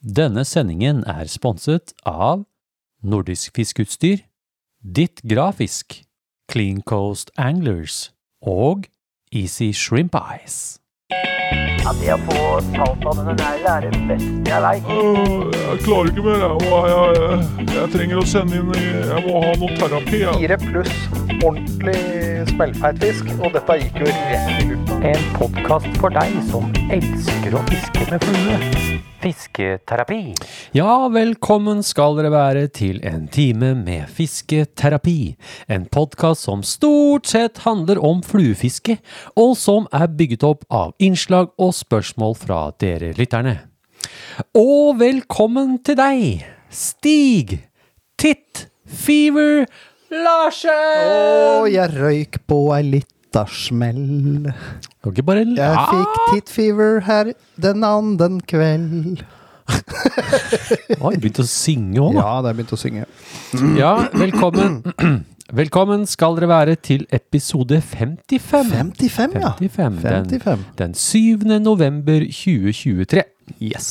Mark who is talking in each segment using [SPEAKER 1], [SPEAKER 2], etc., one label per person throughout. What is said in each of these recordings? [SPEAKER 1] Denne sendingen er sponset av Nordisk Fiskeutstyr, Ditt Grafisk, Clean Coast Anglers og Easy Shrimp Eyes.
[SPEAKER 2] Ja, det å få talt av denne neglen er det beste jeg veit.
[SPEAKER 3] Øh, Jeg klarer ikke mer. Jeg, må- jeg, jeg, jeg trenger å sende inn Jeg må ha noe terapi. Jeg.
[SPEAKER 4] Fire pluss ordentlig smellfeit fisk, og dette gikk jo rett i lufta.
[SPEAKER 2] En podkast for deg som elsker å fiske med flue. Fisketerapi.
[SPEAKER 1] Ja, velkommen skal dere være til en time med fisketerapi. En podkast som stort sett handler om fluefiske, og som er bygget opp av innslag og spørsmål fra dere lytterne. Og velkommen til deg, Stig Titt Fever Larsen!
[SPEAKER 5] Og jeg røyk på ei lita smell.
[SPEAKER 1] Og ikke bare
[SPEAKER 5] Jeg fikk tit fever her den anden kveld.
[SPEAKER 1] Oi, begynte å synge òg, da.
[SPEAKER 5] Ja, da jeg begynte å synge.
[SPEAKER 1] Ja, velkommen. Velkommen skal dere være til episode 55.
[SPEAKER 5] 55, ja.
[SPEAKER 1] 55. Den,
[SPEAKER 5] 55.
[SPEAKER 1] den 7. november 2023.
[SPEAKER 5] Yes.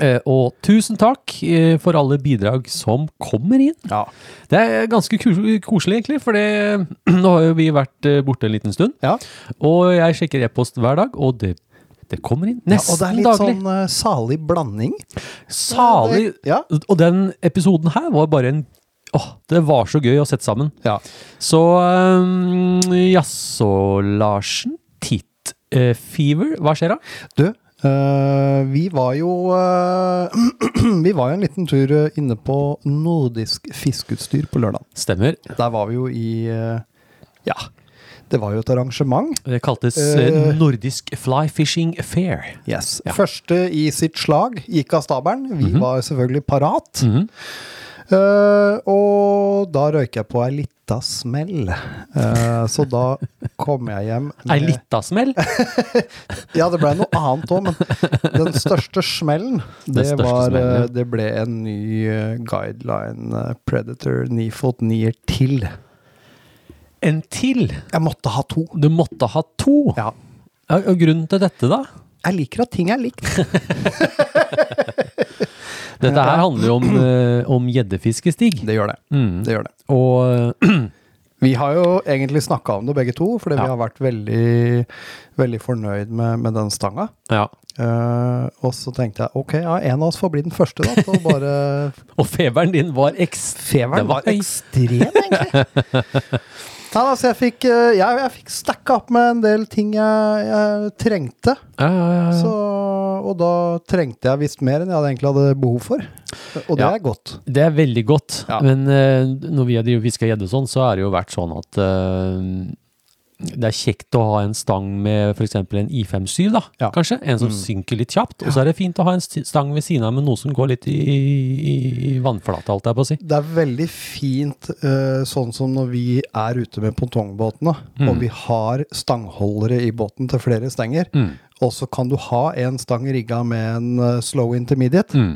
[SPEAKER 1] Eh, og tusen takk eh, for alle bidrag som kommer inn.
[SPEAKER 5] Ja.
[SPEAKER 1] Det er ganske kus koselig, egentlig, for det, nå har jo vi vært eh, borte en liten stund.
[SPEAKER 5] ja.
[SPEAKER 1] Og jeg sjekker e-post hver dag, og det, det kommer inn
[SPEAKER 5] ja og
[SPEAKER 1] nesten
[SPEAKER 5] det er litt
[SPEAKER 1] daglig.
[SPEAKER 5] sånn eh, salig blanding.
[SPEAKER 1] Salig.
[SPEAKER 5] Ja.
[SPEAKER 1] Og den episoden her var bare en Åh, det var så gøy å sette sammen.
[SPEAKER 5] Ja.
[SPEAKER 1] Så um, Jaså, Larsen. Titt. eh, fever, hva skjer da?
[SPEAKER 5] Du, eh, vi var jo eh, Vi var jo en liten tur eh, inne på nordisk fiskeutstyr på lørdag.
[SPEAKER 1] Stemmer.
[SPEAKER 5] Der var vi jo i eh, Ja, det var jo et arrangement.
[SPEAKER 1] Det kaltes eh,
[SPEAKER 5] Eh.
[SPEAKER 1] Nordisk Fly Fishing Fair.
[SPEAKER 5] Yes.
[SPEAKER 1] Ja.
[SPEAKER 5] Første i sitt slag gikk av stabelen. Vi var selvfølgelig parat.
[SPEAKER 1] Mhm.
[SPEAKER 5] Eh, og da røyk jeg på ei lita smell. Eh, så da kom jeg hjem
[SPEAKER 1] Ei lita smell.
[SPEAKER 5] Ja, det blei noe annet òg, men den største smellen, det,
[SPEAKER 1] største
[SPEAKER 5] var, eh,
[SPEAKER 1] smellen, ja.
[SPEAKER 5] det ble en ny eh, guideline eh, Predator ni fot nier til.
[SPEAKER 1] En til.
[SPEAKER 5] Jeg måtte ha to.
[SPEAKER 1] Du måtte ha to.
[SPEAKER 5] Ja.
[SPEAKER 1] Ja, Og grunnen til dette, da?
[SPEAKER 5] Jeg liker at ting er likt.
[SPEAKER 1] Dette her handler jo om, eh, om gjeddefiske, Stig.
[SPEAKER 5] Det gjør det.
[SPEAKER 1] Mm.
[SPEAKER 5] Det gjør det.
[SPEAKER 1] Og
[SPEAKER 5] Vi har jo egentlig snakka om det begge to, fordi
[SPEAKER 1] Ja.
[SPEAKER 5] vi har vært veldig, veldig fornøyd med, med den stanga.
[SPEAKER 1] Ja.
[SPEAKER 5] Eh, og så tenkte jeg ok, ja, en av oss får bli den første, da. Til å bare
[SPEAKER 1] Og feberen din var ekstrem.
[SPEAKER 5] Feveren var ekstrem, egentlig. Nei, altså, jeg fikk, eh, jeg, jeg fikk stacka opp med en del ting jeg, jeg trengte.
[SPEAKER 1] Ja, ja, ja, ja.
[SPEAKER 5] Så, og da trengte jeg visst mer enn jeg hadde egentlig hadde behov for. Og det
[SPEAKER 1] Ja.
[SPEAKER 5] er godt.
[SPEAKER 1] Det er veldig godt,
[SPEAKER 5] Ja.
[SPEAKER 1] men eh, når vi har drevet og fiska gjedde og sånn, så har det jo vært sånn at eh, det er kjekt å ha en stang med f.eks. en I57, da,
[SPEAKER 5] Ja. Mm.
[SPEAKER 1] kanskje. En som synker litt kjapt. Og så er det fint å ha en sti- stang ved siden av med noe som går litt i, i, i vannflata, holdt jeg på å si.
[SPEAKER 5] Det er veldig fint eh, sånn som når vi er ute med pongtongbåtene,
[SPEAKER 1] Mm.
[SPEAKER 5] og vi har stangholdere i båten til flere stenger,
[SPEAKER 1] Mm.
[SPEAKER 5] og så kan du ha en stang rigga med en eh, slow
[SPEAKER 1] Mm.
[SPEAKER 5] intermediate,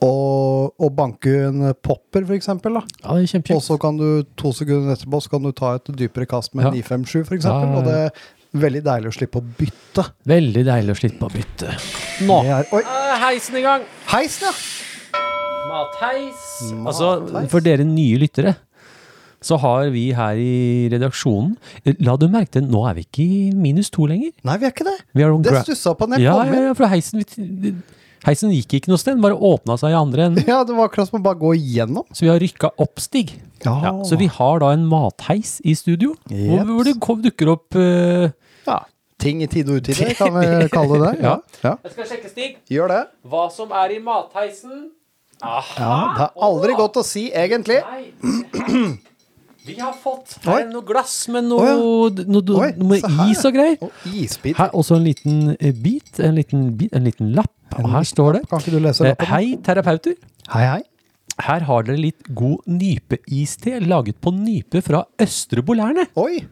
[SPEAKER 5] og, og banke en popper, for eksempel. Da.
[SPEAKER 1] Ja, det er
[SPEAKER 5] Og
[SPEAKER 1] kjempekjekt.
[SPEAKER 5] så kan du to sekunder etterpå så kan du ta et dypere kast med en
[SPEAKER 1] Ja.
[SPEAKER 5] 957, for
[SPEAKER 1] Ja,
[SPEAKER 5] eksempel.
[SPEAKER 1] ja, ja.
[SPEAKER 5] Og det er veldig deilig å slippe å bytte.
[SPEAKER 1] Veldig deilig å slippe å bytte. Nå
[SPEAKER 5] Det er, oi,
[SPEAKER 1] er Eh, heisen i gang!
[SPEAKER 5] heisen, ja!
[SPEAKER 1] Matheis. Altså,
[SPEAKER 5] Matheis.
[SPEAKER 1] for dere nye lyttere, så har vi her i redaksjonen eh, La du merke til, nå er vi ikke i minus to lenger.
[SPEAKER 5] Nei, vi er ikke det.
[SPEAKER 1] Vi har noen
[SPEAKER 5] Det
[SPEAKER 1] gra-
[SPEAKER 5] stussa på når jeg
[SPEAKER 1] ja,
[SPEAKER 5] kom
[SPEAKER 1] ja,
[SPEAKER 5] inn.
[SPEAKER 1] ja, for heisen, heisen gikk ikke noe sted, den bare åpna seg i andre enden.
[SPEAKER 5] Ja, det var akkurat som å bare gå igjennom.
[SPEAKER 1] Så vi har rykka opp stig.
[SPEAKER 5] Ja.
[SPEAKER 1] så vi har da en matheis i studio, hvor,
[SPEAKER 5] Jeps.
[SPEAKER 1] hvor det kom- dukker opp eh,
[SPEAKER 5] Ja. Ting i tide og utide, kan vi kalle det. det.
[SPEAKER 1] Ja.
[SPEAKER 5] ja.
[SPEAKER 1] Jeg skal sjekke, Stig,
[SPEAKER 5] Gjør det.
[SPEAKER 1] hva som er i matheisen. Aha!
[SPEAKER 5] Ja, det er aldri godt å si, egentlig.
[SPEAKER 1] Nei. Vi har fått
[SPEAKER 5] Oi.
[SPEAKER 1] her noe glass med noe, noe,
[SPEAKER 5] Oi,
[SPEAKER 1] noe med
[SPEAKER 5] se her,
[SPEAKER 1] is og greier.
[SPEAKER 5] Og isbit.
[SPEAKER 1] Her også en liten eh, bit, en liten, bit, en liten lapp. Og her står det
[SPEAKER 5] Kan ikke du lese
[SPEAKER 1] eh,
[SPEAKER 5] lappen?
[SPEAKER 1] Hei, terapeuter.
[SPEAKER 5] Hei, hei.
[SPEAKER 1] Her har dere litt god nypeiste laget på nype fra Østre Bolærne.
[SPEAKER 5] Oi!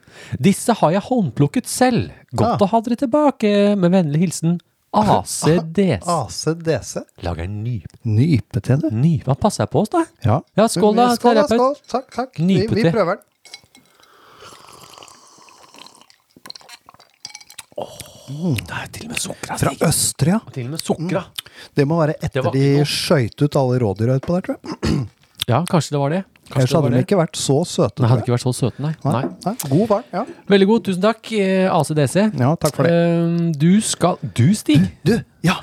[SPEAKER 1] Disse har jeg håndplukket selv. Godt
[SPEAKER 5] Ah.
[SPEAKER 1] å ha dere tilbake. Med vennlig hilsen
[SPEAKER 5] Ah,
[SPEAKER 1] ACDS.
[SPEAKER 5] ACDC.
[SPEAKER 1] Lager nype
[SPEAKER 5] Nypete, du.
[SPEAKER 1] Nypa passer jeg på oss, da.
[SPEAKER 5] Ja.
[SPEAKER 1] Ja, skål da,
[SPEAKER 5] Skål da,
[SPEAKER 1] terapeut.
[SPEAKER 5] skål. Takk, takk. Vi, vi
[SPEAKER 1] Nypete.
[SPEAKER 5] prøver den.
[SPEAKER 1] Det er til og med sukker.
[SPEAKER 5] Fra Østre, ja.
[SPEAKER 1] Til og med sukker. Mm.
[SPEAKER 5] Det må være etter
[SPEAKER 1] var
[SPEAKER 5] de
[SPEAKER 1] ikke noe-
[SPEAKER 5] skøyt ut alle rådyra utpå der, tror jeg.
[SPEAKER 1] Ja, kanskje det var det. Kanskje
[SPEAKER 5] Ellers
[SPEAKER 1] det var
[SPEAKER 5] hadde de
[SPEAKER 1] det.
[SPEAKER 5] ikke vært så søte.
[SPEAKER 1] Nei,
[SPEAKER 5] tror
[SPEAKER 1] hadde
[SPEAKER 5] jeg.
[SPEAKER 1] ikke vært så søte, nei. nei.
[SPEAKER 5] Nei. God barn. Ja.
[SPEAKER 1] Veldig god, tusen takk, eh, ACDC.
[SPEAKER 5] ja, takk for det.
[SPEAKER 1] Eh, Du skal Du, Stig?
[SPEAKER 5] Du, ja,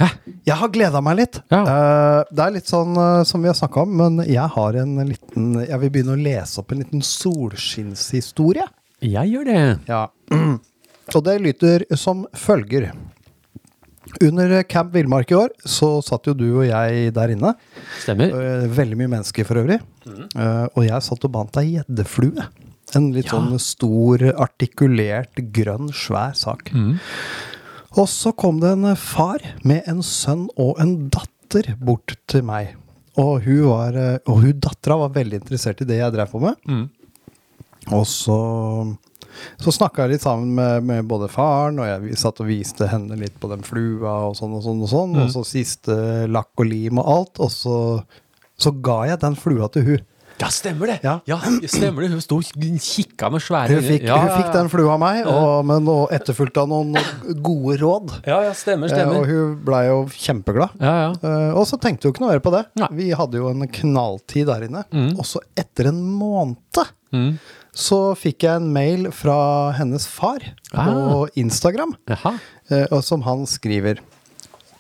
[SPEAKER 5] jeg har gleda meg litt. Eh, det er litt sånn eh, som vi har snakka om, men jeg har en liten Jeg vil begynne å lese opp en liten solskinnshistorie.
[SPEAKER 1] Jeg gjør det.
[SPEAKER 5] Ja. Og det lyder som følger. Under Camp Villmark i år så satt jo du og jeg der inne.
[SPEAKER 1] Stemmer.
[SPEAKER 5] Eh, Veldig mye mennesker for øvrig. Eh, Og jeg satt og bandt ei gjeddeflue. En litt sånn stor, artikulert, grønn, svær sak. Og så kom det en far med en sønn og en datter bort til meg. Og hun, var, eh, og hun dattera var veldig interessert i det jeg drev på med. Og så, så snakka jeg litt sammen med, med både faren, og jeg vi satt og viste henne litt på den flua, og sånn og sånn, og sånn, og så siste lakk og lim og alt, og så, så ga jeg den flua til hun.
[SPEAKER 1] Ja, stemmer det!
[SPEAKER 5] Ja.
[SPEAKER 1] stemmer det. Hun sto og kikka med svære
[SPEAKER 5] Hun fikk,
[SPEAKER 1] ja,
[SPEAKER 5] hun fikk den flua av meg, og, men og etterfulgt av noen gode råd.
[SPEAKER 1] Ja, ja, stemmer,
[SPEAKER 5] Eh, Og
[SPEAKER 1] stemmer.
[SPEAKER 5] hun blei jo kjempeglad.
[SPEAKER 1] Ja, ja.
[SPEAKER 5] Eh, Og så tenkte hun ikke noe mer på det.
[SPEAKER 1] Nei. Mm.
[SPEAKER 5] Vi hadde jo en knalltid der inne. Og så etter en måned så fikk jeg en mail fra hennes far på
[SPEAKER 1] Ah.
[SPEAKER 5] Instagram,
[SPEAKER 1] Jaha.
[SPEAKER 5] eh, og som han skriver.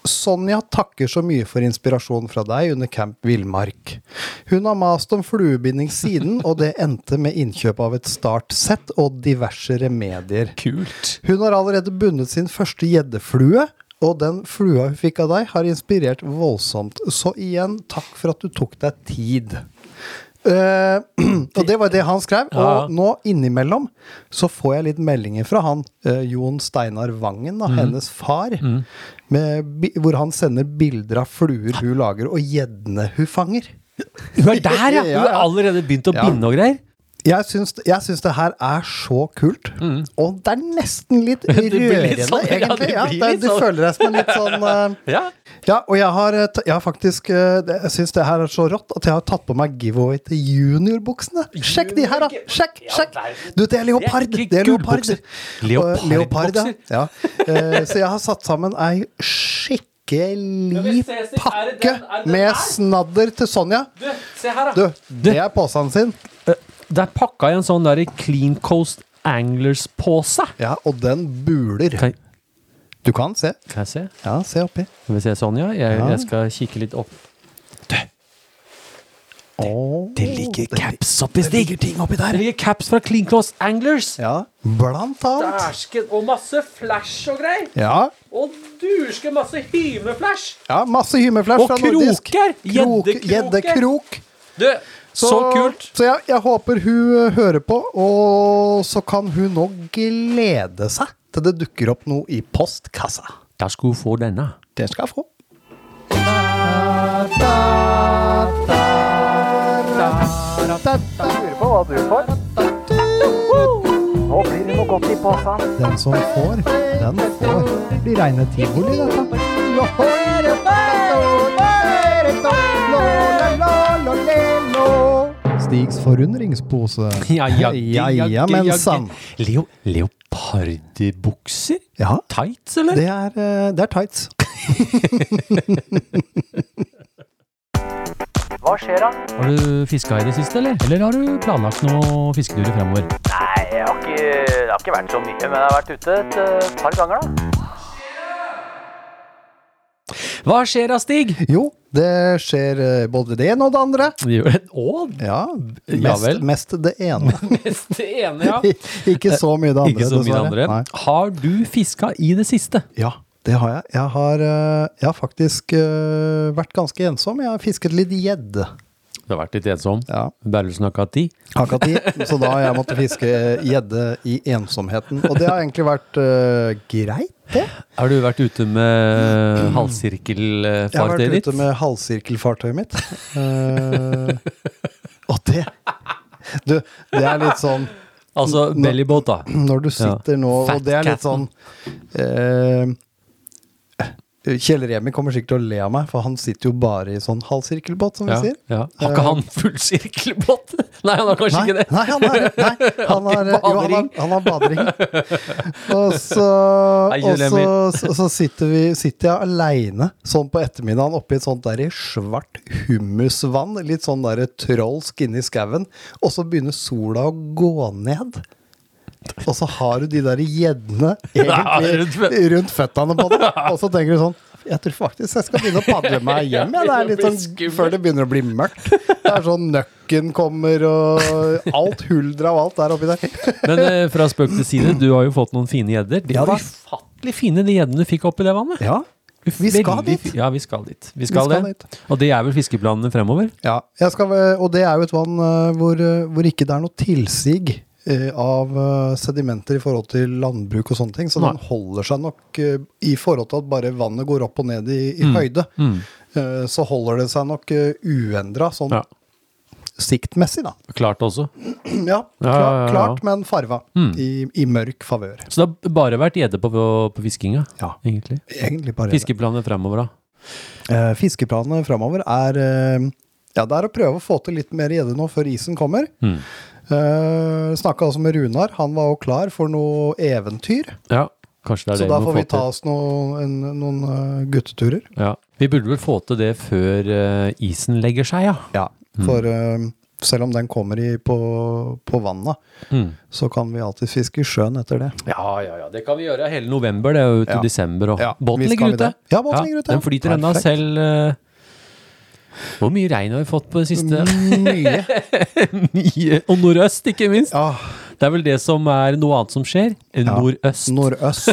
[SPEAKER 5] Sonja takker så mye for inspirasjon fra deg under Camp Villmark. Hun har mast om fluebinding siden, og det endte med innkjøp av et startsett og diverse remedier.
[SPEAKER 1] Kult.
[SPEAKER 5] Hun har allerede bundet sin første gjeddeflue, og den flua hun fikk av deg, har inspirert voldsomt. Så igjen, takk for at du tok deg tid. Eh, og det var det han skrev.
[SPEAKER 1] Ja.
[SPEAKER 5] Og nå innimellom så får jeg litt meldinger fra han eh, Jon Steinar Vangen, da, hennes far, med, bi- hvor han sender bilder av fluer hun lager, og gjeddene hun fanger.
[SPEAKER 1] Hun er der, ja!
[SPEAKER 5] Ja,
[SPEAKER 1] Hun har
[SPEAKER 5] ja.
[SPEAKER 1] allerede begynt å
[SPEAKER 5] Ja.
[SPEAKER 1] binde og greier.
[SPEAKER 5] Jeg syns, jeg syns det her er så kult. Og det er nesten litt
[SPEAKER 1] Mm. blir litt
[SPEAKER 5] rørende,
[SPEAKER 1] sånn, ja, det
[SPEAKER 5] egentlig. Ja,
[SPEAKER 1] blir
[SPEAKER 5] det,
[SPEAKER 1] litt
[SPEAKER 5] du
[SPEAKER 1] sånn.
[SPEAKER 5] føler deg som en litt sånn eh,
[SPEAKER 1] Ja.
[SPEAKER 5] Ja, og jeg har, eh, ta- jeg har faktisk eh, det- Jeg syns det her er så rått at jeg har tatt på meg giveaway til juniorbuksene. Sjekk de her, da! Sjekk! sjekk Du, det er leopard!
[SPEAKER 1] Det er ikke
[SPEAKER 5] Det er leopard.
[SPEAKER 1] gullbukser.
[SPEAKER 5] Og, eh, leopard,
[SPEAKER 1] Leopardbukser.
[SPEAKER 5] ja. ja. Eh, Så jeg har satt sammen ei skikkelig
[SPEAKER 1] se, Stig, er det den- er det
[SPEAKER 5] pakke
[SPEAKER 1] den her?
[SPEAKER 5] med snadder til Sonja.
[SPEAKER 1] Du, se her,
[SPEAKER 5] Du, det er posen sin.
[SPEAKER 1] eh, Det er pakka i en sånn der Clean Coast Anglers-pose.
[SPEAKER 5] Ja, og den buler.
[SPEAKER 1] Kan,
[SPEAKER 5] Du kan se.
[SPEAKER 1] kan jeg se?
[SPEAKER 5] Ja, se oppi.
[SPEAKER 1] Skal vi se sånn, ja? Jeg,
[SPEAKER 5] Ja.
[SPEAKER 1] jeg skal kikke litt opp.
[SPEAKER 5] Åh,
[SPEAKER 1] Det ligger caps oppi, Stig!
[SPEAKER 5] ligger ting oppi der.
[SPEAKER 1] Det ligger caps fra Clean Coast Anglers!
[SPEAKER 5] Ja, blant annet.
[SPEAKER 1] Dæsken! Og masse flash og greier!
[SPEAKER 5] Ja,
[SPEAKER 1] Og duske masse hymeflash!
[SPEAKER 5] ja masse hymeflash
[SPEAKER 1] Og
[SPEAKER 5] fra nordisk.
[SPEAKER 1] kroker!
[SPEAKER 5] Krok-
[SPEAKER 1] Gjeddekrok.
[SPEAKER 5] Gjeddekrok.
[SPEAKER 1] Du, så, kult!
[SPEAKER 5] Så jeg, jeg håper hun eh, hører på, og så kan hun nå glede seg til det dukker opp noe i postkassa.
[SPEAKER 1] Der skulle hun få denne.
[SPEAKER 5] Det skal jeg få.
[SPEAKER 4] Lurer på hva du får. Nå blir det noe godt i posen.
[SPEAKER 5] Den som får, den får. Det blir reine tivoli, dette. Stigs forundringspose.
[SPEAKER 1] Ja, ja,
[SPEAKER 5] ja,
[SPEAKER 1] ja, ja,
[SPEAKER 5] mensan.
[SPEAKER 1] Leo, leopardbukser?
[SPEAKER 5] Ja,
[SPEAKER 1] Tights, eller?
[SPEAKER 5] det er, eh, det er tights.
[SPEAKER 4] Hva skjer da?
[SPEAKER 1] Har du fiska i det siste, eller? Eller har du planlagt noen fisketurer fremover?
[SPEAKER 4] Nei, jeg har ikke, det har ikke vært så mye, men jeg har vært ute et eh, par ganger da.
[SPEAKER 1] Hva skjer da, Stig?
[SPEAKER 5] Jo, det skjer eh, både det ene og det andre.
[SPEAKER 1] Å, Ja
[SPEAKER 5] Ja, mest,
[SPEAKER 1] vel.
[SPEAKER 5] mest det ene.
[SPEAKER 1] mest det ene, ja.
[SPEAKER 5] Ikke så mye det andre,
[SPEAKER 1] Ikke så mye
[SPEAKER 5] dessverre.
[SPEAKER 1] andre.
[SPEAKER 5] Nei.
[SPEAKER 1] Har du fiska i det siste?
[SPEAKER 5] Ja, det har jeg. Jeg har, eh, jeg har faktisk eh, vært ganske ensom. Jeg har fisket litt gjedde.
[SPEAKER 1] Du har vært litt ensom.
[SPEAKER 5] Ja.
[SPEAKER 1] Berlesen har ikke hatt tid.
[SPEAKER 5] Har ikke hatt tid, så da har jeg måttet fiske eh, gjedde i ensomheten. Og det har egentlig vært eh, greit, det.
[SPEAKER 1] Har du vært ute med
[SPEAKER 5] Jeg har
[SPEAKER 1] halvsirkelfartøyet
[SPEAKER 5] vært
[SPEAKER 1] ditt?
[SPEAKER 5] ute med halvsirkelfartøyet mitt. Eh, og det Du, det er litt sånn
[SPEAKER 1] Altså bellyboat, da.
[SPEAKER 5] Når du sitter nå, og det er litt sånn eh, Kjell Remi kommer sikkert til å le av meg, for han sitter jo bare i sånn halvsirkelbåt, som vi
[SPEAKER 1] Ja,
[SPEAKER 5] sier. Eh.
[SPEAKER 1] ja. Har ikke han full sirkelbåt? Nei, han har kanskje
[SPEAKER 5] Nei,
[SPEAKER 1] ikke det.
[SPEAKER 5] nei, han har, nei, han har, jo, han har, han har badering. Og så,
[SPEAKER 1] Nei,
[SPEAKER 5] og
[SPEAKER 1] Kjell
[SPEAKER 5] så,
[SPEAKER 1] Remi.
[SPEAKER 5] så, så sitter, vi, sitter jeg aleine sånn på ettermiddagen oppi et sånt der i svart hummusvann, litt sånn der trolsk inni skauen, og så begynner sola å gå ned. Og så har du de der gjeddene
[SPEAKER 1] Ja, rundt
[SPEAKER 5] egentlig
[SPEAKER 1] føt-
[SPEAKER 5] rundt føttene på deg, og så tenker du sånn jeg tror faktisk jeg skal begynne å padle meg hjem jeg. Det er litt sånn, før det begynner å bli mørkt. Det er sånn nøkken kommer og alt huldra og alt der oppi der.
[SPEAKER 1] Men eh, fra spøk til side, du har jo fått noen fine gjedder. De
[SPEAKER 5] Ja,
[SPEAKER 1] var
[SPEAKER 5] da.
[SPEAKER 1] ufattelig fine, de gjeddene du fikk oppi det vannet.
[SPEAKER 5] Ja, vi skal
[SPEAKER 1] Veldig
[SPEAKER 5] dit.
[SPEAKER 1] fi- Ja, vi skal dit. Vi skal,
[SPEAKER 5] skal
[SPEAKER 1] det. Og det er vel fiskeplanene fremover?
[SPEAKER 5] Ja, jeg skal, eh, og det er jo et vann eh, hvor, eh, hvor ikke det er noe tilsig eh, av eh, sedimenter i forhold til landbruk og sånne ting, så den holder seg nok eh, i forhold til at bare vannet går opp og ned i, i
[SPEAKER 1] Mm.
[SPEAKER 5] høyde. eh, Så holder det seg nok uendra, sånn
[SPEAKER 1] Ja.
[SPEAKER 5] siktmessig, da.
[SPEAKER 1] Klart også.
[SPEAKER 5] Ja,
[SPEAKER 1] Ja, Mm. ja,
[SPEAKER 5] klar,
[SPEAKER 1] ja, ja.
[SPEAKER 5] klart, men farva. I, I mørk favør.
[SPEAKER 1] Så det har bare vært gjedde på, på, på fiskinga,
[SPEAKER 5] Ja.
[SPEAKER 1] egentlig.
[SPEAKER 5] Egentlig bare det.
[SPEAKER 1] Fiskeplanene fremover, da.
[SPEAKER 5] Eh, Fiskeplanene framover er eh, Ja, det er å prøve å få til litt mer gjedde nå før isen kommer. Mm. Snakka også med Runar. Han var jo klar for noe eventyr.
[SPEAKER 1] Ja, kanskje det er
[SPEAKER 5] Så
[SPEAKER 1] det
[SPEAKER 5] da
[SPEAKER 1] må
[SPEAKER 5] får vi
[SPEAKER 1] få
[SPEAKER 5] ta
[SPEAKER 1] til.
[SPEAKER 5] oss noen, en, noen eh, gutteturer.
[SPEAKER 1] ja. Vi burde vel få til det før eh, isen legger seg, ja. Mm.
[SPEAKER 5] Ja. For eh, selv om den kommer i, på, på vannet,
[SPEAKER 1] Mm.
[SPEAKER 5] så kan vi alltid fiske i sjøen etter det.
[SPEAKER 1] Ja, ja, ja. Det kan vi gjøre hele november. Det er jo til
[SPEAKER 5] Ja.
[SPEAKER 1] desember. Og
[SPEAKER 5] Ja,
[SPEAKER 1] båten
[SPEAKER 5] visst
[SPEAKER 1] ligger
[SPEAKER 5] kan vi
[SPEAKER 1] ute.
[SPEAKER 5] det. Ja, båten ligger ute.
[SPEAKER 1] Den flyter ennå
[SPEAKER 5] Perfekt.
[SPEAKER 1] selv. eh, Hvor mye regn har vi fått på det siste?
[SPEAKER 5] Mye.
[SPEAKER 1] Mye. Og nordøst, ikke minst.
[SPEAKER 5] eh, Ja,
[SPEAKER 1] Det er vel det som er noe annet som skjer. Nordøst.
[SPEAKER 5] nordøst,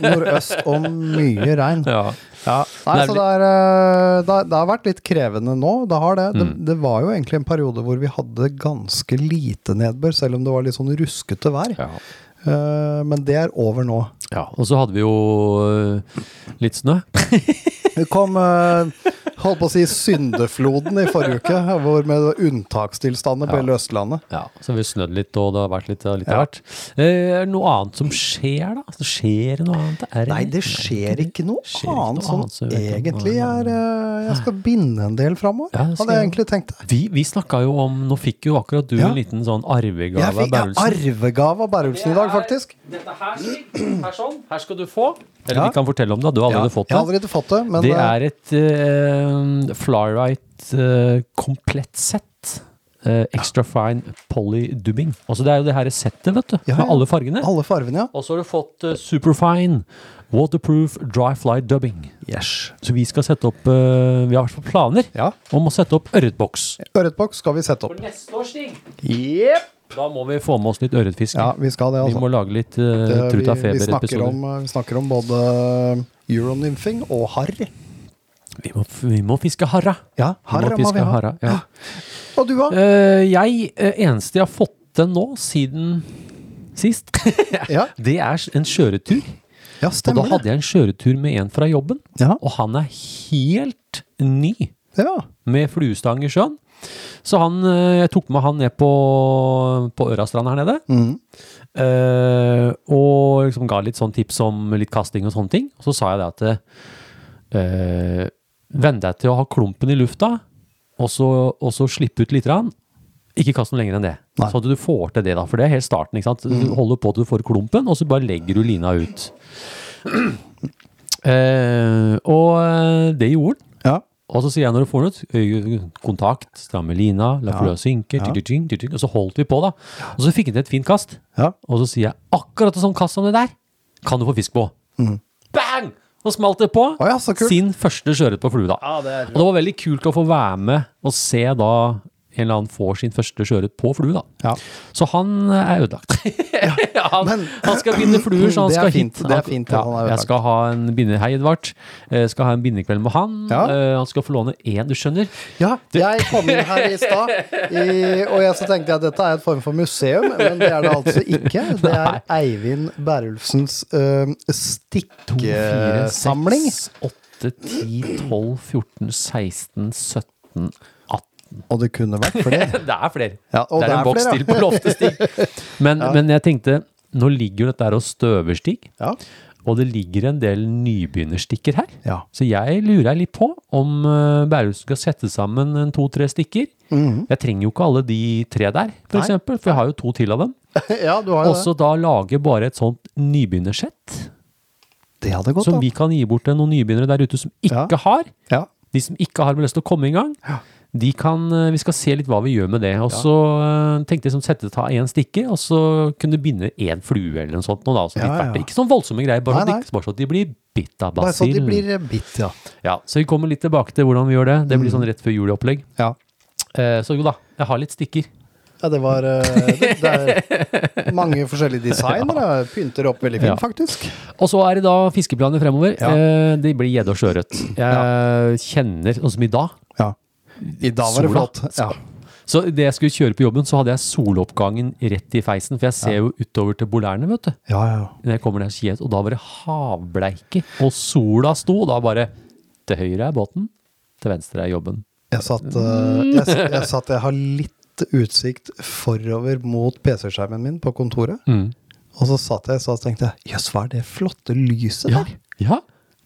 [SPEAKER 5] nordøst og mye regn.
[SPEAKER 1] Ja.
[SPEAKER 5] Ja, nei,
[SPEAKER 1] Nei,
[SPEAKER 5] så
[SPEAKER 1] men-
[SPEAKER 5] det, er, eh, det, det har vært litt krevende nå. Det har det.
[SPEAKER 1] Mm.
[SPEAKER 5] det. Det var jo egentlig en periode hvor vi hadde ganske lite nedbør, selv om det var litt sånn ruskete vær.
[SPEAKER 1] Ja.
[SPEAKER 5] Eh, men det er over nå.
[SPEAKER 1] ja. Og så hadde vi jo eh, litt snø.
[SPEAKER 5] Det kom eh, holdt på å si syndefloden i forrige uke, hvor med unntakstilstander på hele Østlandet.
[SPEAKER 1] Ja, Så har vi snødd litt, og det har vært litt av litt av hvert. Eh, Er det noe annet som skjer, da? Så skjer det noe annet? Er
[SPEAKER 5] Nei, det skjer ikke noe
[SPEAKER 1] Skjer ikke noe
[SPEAKER 5] annet
[SPEAKER 1] annet, så
[SPEAKER 5] som
[SPEAKER 1] jeg vet ikke.
[SPEAKER 5] egentlig er eh, Jeg skal binde en del framover,
[SPEAKER 1] Ja, det skal
[SPEAKER 5] hadde jeg
[SPEAKER 1] jeg.
[SPEAKER 5] egentlig tenkt. det.
[SPEAKER 1] Vi, vi snakka jo om Nå fikk jo akkurat du
[SPEAKER 5] Ja.
[SPEAKER 1] en liten sånn
[SPEAKER 5] Jeg
[SPEAKER 1] arvegave av
[SPEAKER 5] fikk ja,
[SPEAKER 1] Berlsen.
[SPEAKER 5] arvegave av Berulfsen i dag, faktisk.
[SPEAKER 1] Dette her, her sånn, her skal du få. Eller
[SPEAKER 5] Ja.
[SPEAKER 1] vi kan fortelle om det, du har
[SPEAKER 5] Ja,
[SPEAKER 1] allerede
[SPEAKER 5] jeg
[SPEAKER 1] fått
[SPEAKER 5] har
[SPEAKER 1] det.
[SPEAKER 5] allerede fått det, men
[SPEAKER 1] Det
[SPEAKER 5] eh,
[SPEAKER 1] er et uh, Flyrite eh, komplett sett. Eh, extra fine polydubbing. Altså det er jo det her settet, vet du.
[SPEAKER 5] Ja,
[SPEAKER 1] Med
[SPEAKER 5] ja.
[SPEAKER 1] alle fargene.
[SPEAKER 5] Alle fargene, ja.
[SPEAKER 1] Og så har du fått eh, superfine waterproof dry fly dubbing. Så vi skal sette opp eh, Vi har i hvert fall planer
[SPEAKER 5] Ja.
[SPEAKER 1] om å sette opp ørretboks.
[SPEAKER 5] Ørretboks skal vi sette opp.
[SPEAKER 1] Neste års ting. Da må vi få med oss litt ørretfisk.
[SPEAKER 5] Ja, vi skal det,
[SPEAKER 1] Vi må
[SPEAKER 5] altså.
[SPEAKER 1] lage litt uh,
[SPEAKER 5] Det-
[SPEAKER 1] Truta
[SPEAKER 5] vi, vi, snakker
[SPEAKER 1] Feber-episoder.
[SPEAKER 5] om, eh, vi snakker om både euronymphing og harr.
[SPEAKER 1] Vi, må- vi må fiske harra.
[SPEAKER 5] Ja, harr må vi ha. Ah,
[SPEAKER 1] harra, ja.
[SPEAKER 5] Og du, da?
[SPEAKER 1] Eh, jeg, eh, eneste jeg har fått til nå, siden sist,
[SPEAKER 5] Ja.
[SPEAKER 1] det er en kjøretur. Og
[SPEAKER 5] Ja,
[SPEAKER 1] da
[SPEAKER 5] stemmer det.
[SPEAKER 1] hadde jeg en kjøretur med en fra jobben,
[SPEAKER 5] Ja.
[SPEAKER 1] og han er helt ny
[SPEAKER 5] Ja.
[SPEAKER 1] med fluestang i sjøen. Så han, eh, jeg tok med han ned på, på Ørastrand her nede. Eh, og liksom ga litt sånn tips om litt kasting og sånne ting. Og så sa jeg det at eh, Venn deg til å ha klumpen i lufta, og så, og så slippe ut litt. Rann. Ikke kast den lenger enn det.
[SPEAKER 5] Nei.
[SPEAKER 1] Så at du får til det, da. For det er helt starten. ikke sant? Du holder på til du får klumpen, og så bare legger du lina ut. Eh, og eh, det gjorde han.
[SPEAKER 5] ja.
[SPEAKER 1] Og så sier jeg når du får den ut, øye- kontakt, stramme lina, la flua synke, tjing, tjing, tjing, tjing, og så holdt vi på, da. Og så fikk han til et fint kast.
[SPEAKER 5] Ja.
[SPEAKER 1] Og så sier jeg akkurat det sånn kast som det der, kan du få fisk på. Bang! Nå smalt det på.
[SPEAKER 5] Mm. Å ja, så kult.
[SPEAKER 1] Sin første sjøørret på flue, da. og det var veldig kult å få være med og se da en eller annen får sin første sjøørret på flue, da.
[SPEAKER 5] Ja.
[SPEAKER 1] Så han er ødelagt. han,
[SPEAKER 5] men-
[SPEAKER 1] han skal binde fluer, så han
[SPEAKER 5] Det er
[SPEAKER 1] skal
[SPEAKER 5] fint,
[SPEAKER 1] hit.
[SPEAKER 5] det er fint at han er
[SPEAKER 1] jeg
[SPEAKER 5] ødelagt.
[SPEAKER 1] skal ha en binde, hei Edvard. Jeg skal ha en bindekveld med han.
[SPEAKER 5] Ja.
[SPEAKER 1] Eh, Han skal få låne én, du skjønner.
[SPEAKER 5] ja. Jeg kom inn her i stad, i- og jeg så tenkte jeg at dette er et form for museum, men det er det altså ikke. Det er Eivind Berulfsens øh, stikkesamling.
[SPEAKER 1] 8, 10, 12, 14, 16, 17, 18.
[SPEAKER 5] Og det kunne vært flere.
[SPEAKER 1] Det er flere.
[SPEAKER 5] Ja, og
[SPEAKER 1] det er
[SPEAKER 5] det er
[SPEAKER 1] en boks
[SPEAKER 5] flere, ja.
[SPEAKER 1] til på Loftestig. Men, men jeg tenkte, nå ligger jo dette her og støver, Stig.
[SPEAKER 5] Ja.
[SPEAKER 1] Og det ligger en del nybegynnerstikker her.
[SPEAKER 5] Ja.
[SPEAKER 1] Så jeg lurer litt på om eh, Bærums skal sette sammen en to-tre stykker. Jeg trenger jo ikke alle de tre der, for
[SPEAKER 5] Mhm. Nei.
[SPEAKER 1] eksempel, for jeg har jo to til av dem.
[SPEAKER 5] ja, du har jo
[SPEAKER 1] Og så da lage bare et sånt nybegynnersett,
[SPEAKER 5] det. Det hadde gått
[SPEAKER 1] som
[SPEAKER 5] an.
[SPEAKER 1] vi kan gi bort til noen nybegynnere der ute som ikke
[SPEAKER 5] Ja.
[SPEAKER 1] har.
[SPEAKER 5] Ja.
[SPEAKER 1] De som ikke har lyst til å komme i gang, de kan, eh, vi skal se litt hva vi gjør med det. Og så eh, tenkte jeg som sette ta én stikke, og så kunne du binde én flue eller noe sånt. Noe da, så
[SPEAKER 5] Ja,
[SPEAKER 1] litt
[SPEAKER 5] ja.
[SPEAKER 1] verter. Ikke sånn voldsomme greier, bare,
[SPEAKER 5] Nei,
[SPEAKER 1] så de
[SPEAKER 5] nei.
[SPEAKER 1] ikke- bare så de blir bitt av
[SPEAKER 5] Bare så
[SPEAKER 1] basill.
[SPEAKER 5] de blir eh, bitt, ja.
[SPEAKER 1] Ja, så vi kommer litt tilbake til hvordan vi gjør det. Det blir sånn rett før juleopplegg.
[SPEAKER 5] ja.
[SPEAKER 1] Eh, så jo da, jeg har litt stikker.
[SPEAKER 5] Ja, det var eh, det, det er mange forskjellige designer. da. Pynter opp veldig fint,
[SPEAKER 1] Ja.
[SPEAKER 5] faktisk.
[SPEAKER 1] Og så er det da fiskeplaner fremover.
[SPEAKER 5] Ja.
[SPEAKER 1] Eh, det blir gjedde og sjøørret. Jeg kjenner, sånn som i dag
[SPEAKER 5] Ja. I dag var det
[SPEAKER 1] Sola.
[SPEAKER 5] flott. Ja.
[SPEAKER 1] Så det jeg skulle kjøre på jobben, så hadde jeg soloppgangen rett i feisen, for jeg ser jo utover til bolærne, vet du.
[SPEAKER 5] Ja, ja.
[SPEAKER 1] Når jeg kommer der, så sier jeg, og da var det havbleike, og sola sto, og da bare Til høyre er båten, til venstre er jobben.
[SPEAKER 5] Jeg satt, eh, jeg, s- jeg satt Jeg har litt utsikt forover mot PC-skjermen min på kontoret.
[SPEAKER 1] Mm.
[SPEAKER 5] Og så satt jeg så tenkte jeg, jøss, hva er det flotte lyset
[SPEAKER 1] Ja,
[SPEAKER 5] der?
[SPEAKER 1] ja.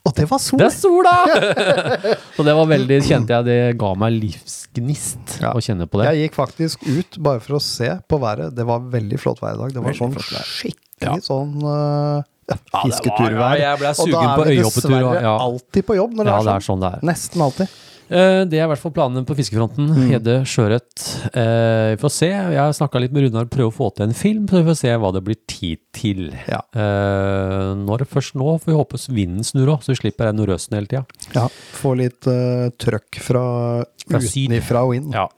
[SPEAKER 5] Og det var sol!
[SPEAKER 1] Det er sola! og det var veldig, kjente jeg, det ga meg livsgnist
[SPEAKER 5] Ja.
[SPEAKER 1] å kjenne på det.
[SPEAKER 5] Jeg gikk faktisk ut bare for å se på været. Det var veldig flott vær i dag. Det var
[SPEAKER 1] Veldig
[SPEAKER 5] sånn
[SPEAKER 1] flott vær.
[SPEAKER 5] skikkelig
[SPEAKER 1] Ja.
[SPEAKER 5] sånn uh, ja,
[SPEAKER 1] ja,
[SPEAKER 5] fisketurvær.
[SPEAKER 1] jeg ble
[SPEAKER 5] Og da
[SPEAKER 1] sugen på
[SPEAKER 5] er vi
[SPEAKER 1] øyehoppetur, og-
[SPEAKER 5] dessverre
[SPEAKER 1] ja.
[SPEAKER 5] alltid på jobb når det,
[SPEAKER 1] Ja,
[SPEAKER 5] er, sånn. Mm.
[SPEAKER 1] det er.
[SPEAKER 5] Nesten alltid.
[SPEAKER 1] Eh, Det er i hvert fall planene på fiskefronten. Gjedde, sjøørret. Eh, Vi får se. Jeg har snakka litt med Runar og prøver å få til en film, så vi får se hva det blir tid til.
[SPEAKER 5] Ja.
[SPEAKER 1] Eh, Når det først nå, får vi håpe vinden snur òg, så vi slipper den nordøsten hele tida.
[SPEAKER 5] Ja, Få litt eh, trøkk fra,
[SPEAKER 1] Fra syd.
[SPEAKER 5] utenifra og inn. Ja.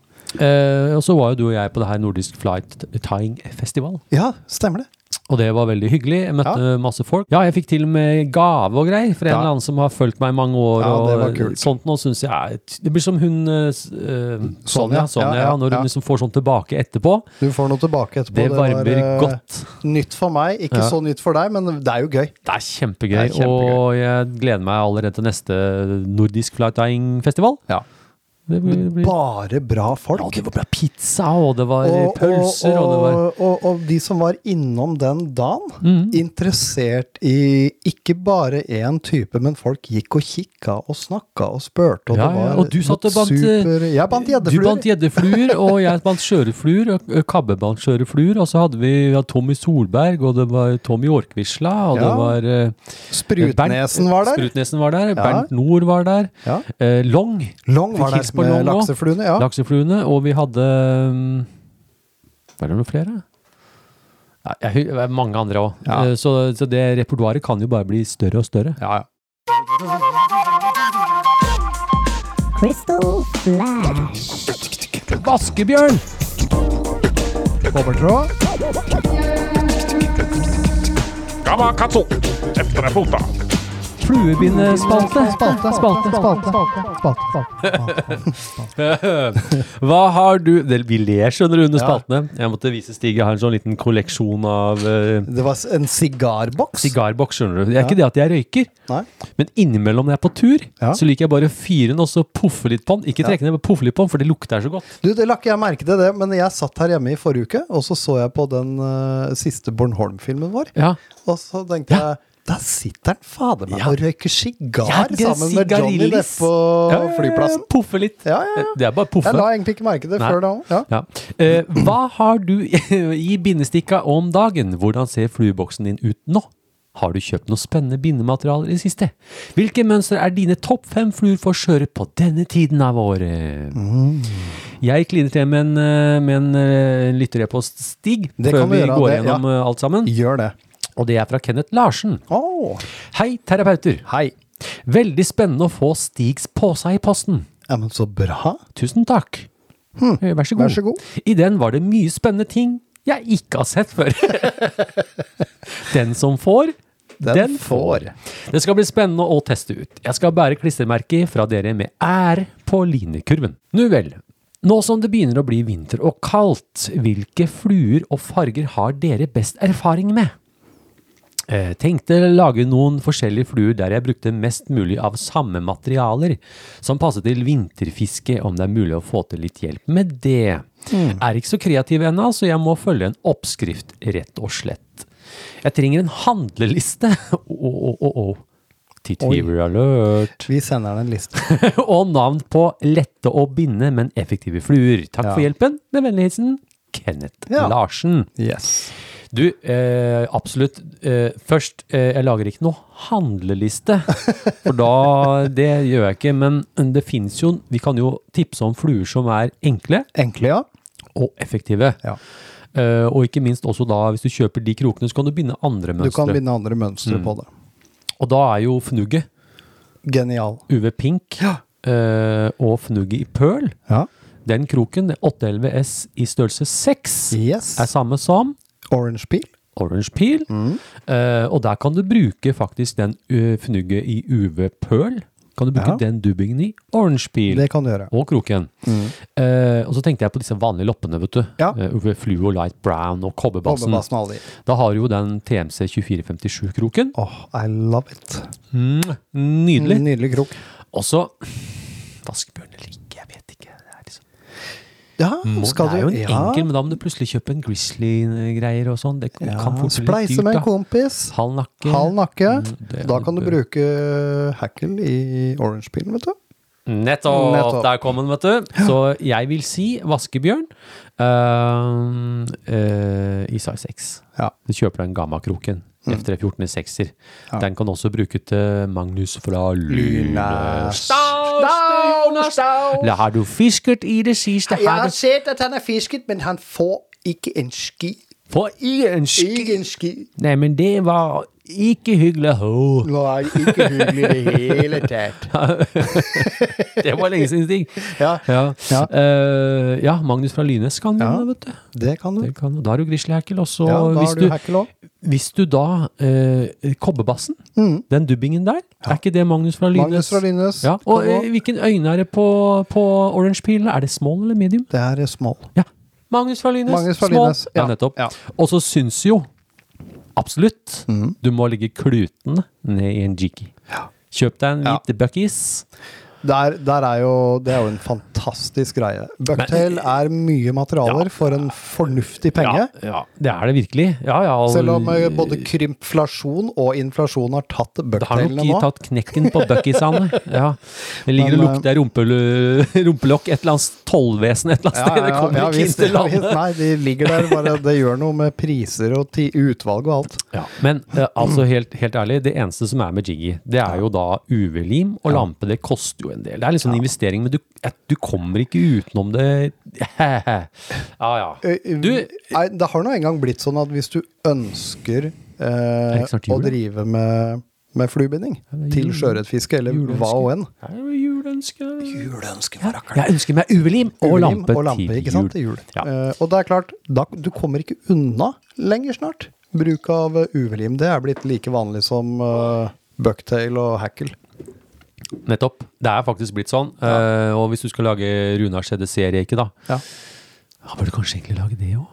[SPEAKER 1] Eh, og så var jo du og jeg på det her Nordisk Flight Tying Festival,
[SPEAKER 5] stemmer det.
[SPEAKER 1] og det var veldig hyggelig. Jeg møtte masse folk. Ja, jeg fikk til og med gave og greier fra en
[SPEAKER 5] Ja.
[SPEAKER 1] eller annen som har fulgt meg i mange år.
[SPEAKER 5] Ja, det var
[SPEAKER 1] og
[SPEAKER 5] kult.
[SPEAKER 1] sånt nå synes jeg er- Det blir som hun eh, s- eh, Sonja,
[SPEAKER 5] Sonja,
[SPEAKER 1] Sonja
[SPEAKER 5] ja, ja,
[SPEAKER 1] når hun
[SPEAKER 5] ja.
[SPEAKER 1] liksom får sånn tilbake etterpå.
[SPEAKER 5] Du får noe tilbake etterpå.
[SPEAKER 1] Det varmer
[SPEAKER 5] var, eh,
[SPEAKER 1] godt.
[SPEAKER 5] Nytt for meg, ikke
[SPEAKER 1] Ja.
[SPEAKER 5] så nytt for deg, men det er jo gøy.
[SPEAKER 1] Det er kjempegøy,
[SPEAKER 5] Det er kjempegøy.
[SPEAKER 1] og jeg gleder meg allerede til neste Nordisk Flight Tying Festival. Det blir, det blir
[SPEAKER 5] Bare bra folk.
[SPEAKER 1] Ja, det var bra pizza, og det var
[SPEAKER 5] Og-
[SPEAKER 1] pølser, og,
[SPEAKER 5] og,
[SPEAKER 1] det var Mhm.
[SPEAKER 5] og, og, og de som var innom den dagen,
[SPEAKER 1] Mm.
[SPEAKER 5] interessert i ikke bare én type, men folk gikk og kikka og snakka og spurte, og
[SPEAKER 1] Ja,
[SPEAKER 5] det
[SPEAKER 1] ja,
[SPEAKER 5] var
[SPEAKER 1] og du satt og
[SPEAKER 5] noe
[SPEAKER 1] bandt, eh,
[SPEAKER 5] super- Jeg bandt
[SPEAKER 1] Du bandt
[SPEAKER 5] gjeddefluer.
[SPEAKER 1] gjeddefluer, og jeg bandt skjørefluer, og ø, Kabbe bandt skjørefluer, og så hadde vi ja, Tommy Solberg, og det var Tommy Orkvisla, og det
[SPEAKER 5] Ja.
[SPEAKER 1] var eh,
[SPEAKER 5] Sprutnesen var der.
[SPEAKER 1] Sprutnesen var der, Bernt Nord var der,
[SPEAKER 5] Ja.
[SPEAKER 1] eh, Long,
[SPEAKER 5] Long
[SPEAKER 1] Fikk
[SPEAKER 5] var der
[SPEAKER 1] hils på
[SPEAKER 5] med
[SPEAKER 1] Long også.
[SPEAKER 5] laksefluene. Ja.
[SPEAKER 1] Laksefluene, og vi hadde um, Var det noen flere? Nei, jeg, hu- det er mange andre òg.
[SPEAKER 5] Ja.
[SPEAKER 1] Så, så det repertoaret kan jo bare bli større og større.
[SPEAKER 5] Ja, ja.
[SPEAKER 6] Crystal Flash.
[SPEAKER 1] Vaskebjørn!
[SPEAKER 5] Kobbertråd.
[SPEAKER 3] Gamma katso! Efter er fota.
[SPEAKER 1] Fluebindespalte.
[SPEAKER 5] Spalte, spalte, spalte. spalte, spalte,
[SPEAKER 1] Hva har du det, Vi ler, skjønner du, under
[SPEAKER 5] Ja.
[SPEAKER 1] spaltene. Jeg måtte vise Stig jeg har en sånn liten kolleksjon av eh,
[SPEAKER 5] Det var en sigarboks.
[SPEAKER 1] sigarboks, skjønner du. Det er ikke det at jeg røyker,
[SPEAKER 5] Nei.
[SPEAKER 1] men innimellom når jeg er på tur,
[SPEAKER 5] Ja.
[SPEAKER 1] så liker jeg bare å fyre den og så poffe litt på den. Ikke trekke den, men poffe litt på den, for det lukter så godt.
[SPEAKER 5] Du, det la ikke jeg merke til det, men jeg satt her hjemme i forrige uke, og så så jeg på den eh, siste Bornholm-filmen vår.
[SPEAKER 1] Ja.
[SPEAKER 5] Og så tenkte jeg der sitter han fader meg
[SPEAKER 1] Ja.
[SPEAKER 5] og røyker sigar
[SPEAKER 1] Ja, det er
[SPEAKER 5] sammen med Johnny Depp
[SPEAKER 1] sigarillis.
[SPEAKER 5] på flyplassen.
[SPEAKER 1] Poffe litt.
[SPEAKER 5] Ja, ja, ja.
[SPEAKER 1] Det er bare poffe.
[SPEAKER 5] Jeg la egentlig ikke merke det
[SPEAKER 1] Nei.
[SPEAKER 5] før da òg. Ja.
[SPEAKER 1] Ja. Eh, hva har du i bindestikka om dagen? Hvordan ser flueboksen din ut nå? Har du kjøpt noe spennende bindematerialer i det siste? Hvilke mønstre er dine topp fem fluer for skjøre på denne tiden av året?
[SPEAKER 5] Mm.
[SPEAKER 1] Jeg kliner til med en, eh, med en eh, lytterepost, Stig,
[SPEAKER 5] Det
[SPEAKER 1] før
[SPEAKER 5] kan du
[SPEAKER 1] vi
[SPEAKER 5] gjøre,
[SPEAKER 1] går
[SPEAKER 5] det- ja.
[SPEAKER 1] gjennom eh, alt sammen.
[SPEAKER 5] Gjør det.
[SPEAKER 1] Og det er fra Kenneth Larsen.
[SPEAKER 5] Åh,
[SPEAKER 1] Hei, terapeuter.
[SPEAKER 5] hei.
[SPEAKER 1] Veldig spennende å få Stigs påse i posten.
[SPEAKER 5] Ja, men så bra.
[SPEAKER 1] Tusen takk. Eh, Vær så god.
[SPEAKER 5] Hmm. vær så god.
[SPEAKER 1] I den var det mye spennende ting jeg ikke har sett før. den som får, den,
[SPEAKER 5] Den
[SPEAKER 1] får. Det skal bli spennende å teste ut. Jeg skal bære klistremerker fra dere med ære på linekurven. Nu vel. Nå som det begynner å bli vinter og kaldt, hvilke fluer og farger har dere best erfaring med? Eh, tenkte lage noen forskjellige fluer der jeg brukte mest mulig av samme materialer, som passet til vinterfiske, om det er mulig å få til litt hjelp med
[SPEAKER 5] Mm.
[SPEAKER 1] det. Er ikke så kreativ ennå, så jeg må følge en oppskrift, rett og slett. Jeg trenger en handleliste! Å, å, å, å. Tittgiver alert.
[SPEAKER 5] Vi sender han en liste.
[SPEAKER 1] og navn på lette å binde, men effektive fluer. Takk
[SPEAKER 5] Ja.
[SPEAKER 1] for hjelpen. Med vennlig hilsen Kenneth
[SPEAKER 5] Ja.
[SPEAKER 1] Larsen.
[SPEAKER 5] Yes.
[SPEAKER 1] Du, eh, absolutt. Eh, først, eh, jeg lager ikke noe handleliste, for da Det gjør jeg ikke, men det fins jo Vi kan jo tipse om fluer som er enkle
[SPEAKER 5] Enkle, ja.
[SPEAKER 1] og effektive.
[SPEAKER 5] Ja.
[SPEAKER 1] Eh, og ikke minst også da, hvis du kjøper de krokene, så kan du binde andre
[SPEAKER 5] Du kan
[SPEAKER 1] mønstre.
[SPEAKER 5] binde andre mønstre på det.
[SPEAKER 1] og da er jo fnugget
[SPEAKER 5] Genial.
[SPEAKER 1] UV Pink eh, og fnugget i Pearl,
[SPEAKER 5] Ja.
[SPEAKER 1] den kroken, 811S i størrelse 6,
[SPEAKER 5] Yes.
[SPEAKER 1] er samme som
[SPEAKER 5] Orange peel.
[SPEAKER 1] Orange Peel.
[SPEAKER 5] Mm.
[SPEAKER 1] Eh, og der kan du bruke faktisk den ø, fnugget i UV Pearl. Kan du bruke
[SPEAKER 5] Ja.
[SPEAKER 1] den dubbingen i Orange Peel
[SPEAKER 5] Det kan du gjøre.
[SPEAKER 1] og kroken. Eh, og så tenkte jeg på disse vanlige loppene, vet du.
[SPEAKER 5] Ja.
[SPEAKER 1] Eh, UV Fluo, Light Brown og Kobberbassen.
[SPEAKER 5] Bobbebassen og alle de.
[SPEAKER 1] Da har du jo den TMC 2457-kroken.
[SPEAKER 5] Åh, I love it.
[SPEAKER 1] Mm, Nydelig.
[SPEAKER 5] Nydelig krok.
[SPEAKER 1] Og så Vaskebjørn eller ikke, jeg vet ikke. Det er, liksom,
[SPEAKER 5] Ja,
[SPEAKER 1] må,
[SPEAKER 5] Mm. skal
[SPEAKER 1] det er jo
[SPEAKER 5] du
[SPEAKER 1] en enkel, men da må du plutselig kjøpe en Grizzly-greier og sånn. Det kan
[SPEAKER 5] ja.
[SPEAKER 1] fort bli litt
[SPEAKER 5] Spleise
[SPEAKER 1] dyrt,
[SPEAKER 5] med en
[SPEAKER 1] da.
[SPEAKER 5] kompis.
[SPEAKER 1] Halv nakke.
[SPEAKER 5] Halv nakke.
[SPEAKER 1] Mm, det-
[SPEAKER 5] Da kan du bruke eh, hackle i orange peel, vet du.
[SPEAKER 1] Nettopp!
[SPEAKER 5] Nettopp.
[SPEAKER 1] Der kom den, vet du. Så jeg vil si vaskebjørn ehm, eh, i size 6.
[SPEAKER 5] Ja.
[SPEAKER 1] Du kjøper den gammakroken.
[SPEAKER 5] Mm.
[SPEAKER 1] F314 i sekser. Den kan også bruke til Magnus fra Lynes. Har du fisket i det siste? Har du
[SPEAKER 5] sett at han har fisket, men han får ikke en ski.
[SPEAKER 1] På ingen ski!
[SPEAKER 5] en ski.
[SPEAKER 1] Nei, men det var ikke hyggelig. Åh,
[SPEAKER 5] Nei, ikke hyggelig i det hele tatt.
[SPEAKER 1] Det var lenge siden stig.
[SPEAKER 5] Ja.
[SPEAKER 1] Ja.
[SPEAKER 5] Ja.
[SPEAKER 1] Eh, ja, Magnus fra Lynes kan
[SPEAKER 5] Ja.
[SPEAKER 1] den, vet du.
[SPEAKER 5] Det kan du.
[SPEAKER 1] Det kan, da er du grizzlyhackel. Og så
[SPEAKER 5] Mm. Ja, da
[SPEAKER 1] hvis,
[SPEAKER 5] har du
[SPEAKER 1] du,
[SPEAKER 5] hackle òg.
[SPEAKER 1] hvis du da eh, Kobberbassen, den dubbingen der, er ikke det Magnus fra Lynes?
[SPEAKER 5] Mm. Magnus fra Lynes.
[SPEAKER 1] Ja, og
[SPEAKER 5] Kom
[SPEAKER 1] eh, hvilken øyne er det på, på Orange Peel? Er det small eller medium?
[SPEAKER 5] Det er small.
[SPEAKER 1] Ja. Magnus fra Lynes.
[SPEAKER 5] Magnus fra
[SPEAKER 1] small.
[SPEAKER 5] Lynes,
[SPEAKER 1] Ja,
[SPEAKER 5] ja.
[SPEAKER 1] nettopp.
[SPEAKER 5] Ja.
[SPEAKER 1] Og så syns jo Absolutt. Du må legge klutene ned i en jiki. Kjøp deg en
[SPEAKER 5] Mm. Ja.
[SPEAKER 1] hvit buckies.
[SPEAKER 5] Der, der er jo, det er jo en fantastisk greie. Bucktail er mye materialer for en fornuftig penge.
[SPEAKER 1] ja, det er det virkelig. Ja, ja, og-
[SPEAKER 5] Selv om eh, både krympflasjon og inflasjon har tatt
[SPEAKER 1] Det har nok
[SPEAKER 5] bucktailene
[SPEAKER 1] ikke
[SPEAKER 5] nå.
[SPEAKER 1] tatt knekken på buckiesene. Ja. Det ligger og
[SPEAKER 5] Men, eh,
[SPEAKER 1] lukter rumpel- rumpelokk, et eller annet tollvesen et eller annet sted. Det kommer ikke inn
[SPEAKER 5] visst,
[SPEAKER 1] til
[SPEAKER 5] ja, visst.
[SPEAKER 1] landet.
[SPEAKER 5] Nei, de ligger der. Bare, det gjør noe med priser og ti, utvalg og alt.
[SPEAKER 1] Ja, men eh, altså helt, helt ærlig, det eneste som er med Jiggy, det er jo da UV-lim og lampe. Det koster jo en del. Det er liksom en investering, men du, eh, du kommer ikke utenom det. Ja, ja.
[SPEAKER 5] Ø, ø,
[SPEAKER 1] Du-
[SPEAKER 5] nei, det har nå engang blitt sånn at hvis du ønsker eh,
[SPEAKER 1] ikke snart
[SPEAKER 5] å
[SPEAKER 1] jul, da?
[SPEAKER 5] drive med, med flubinding
[SPEAKER 1] det er
[SPEAKER 5] til
[SPEAKER 1] jul.
[SPEAKER 5] sjøørretfiske eller hva
[SPEAKER 1] Juleønske.
[SPEAKER 5] og enn
[SPEAKER 1] Det er jo juleønske.
[SPEAKER 5] Juleønske for rakkeren.
[SPEAKER 1] Jeg ønsker meg UV-lim og
[SPEAKER 5] Ulim
[SPEAKER 1] lampe,
[SPEAKER 5] og lampe ikke sant, til jul.
[SPEAKER 1] Ja.
[SPEAKER 5] Eh, og det er klart, da, du kommer ikke unna lenger snart. Bruk av eh, UV-lim. Det er blitt like vanlig som eh, bucktail og hackle.
[SPEAKER 1] Nettopp. Det er faktisk blitt sånn. Eh, og hvis du skal lage Runar CD-serie, ikke da,
[SPEAKER 5] Ja.
[SPEAKER 1] Ja, burde kanskje egentlig lage det òg?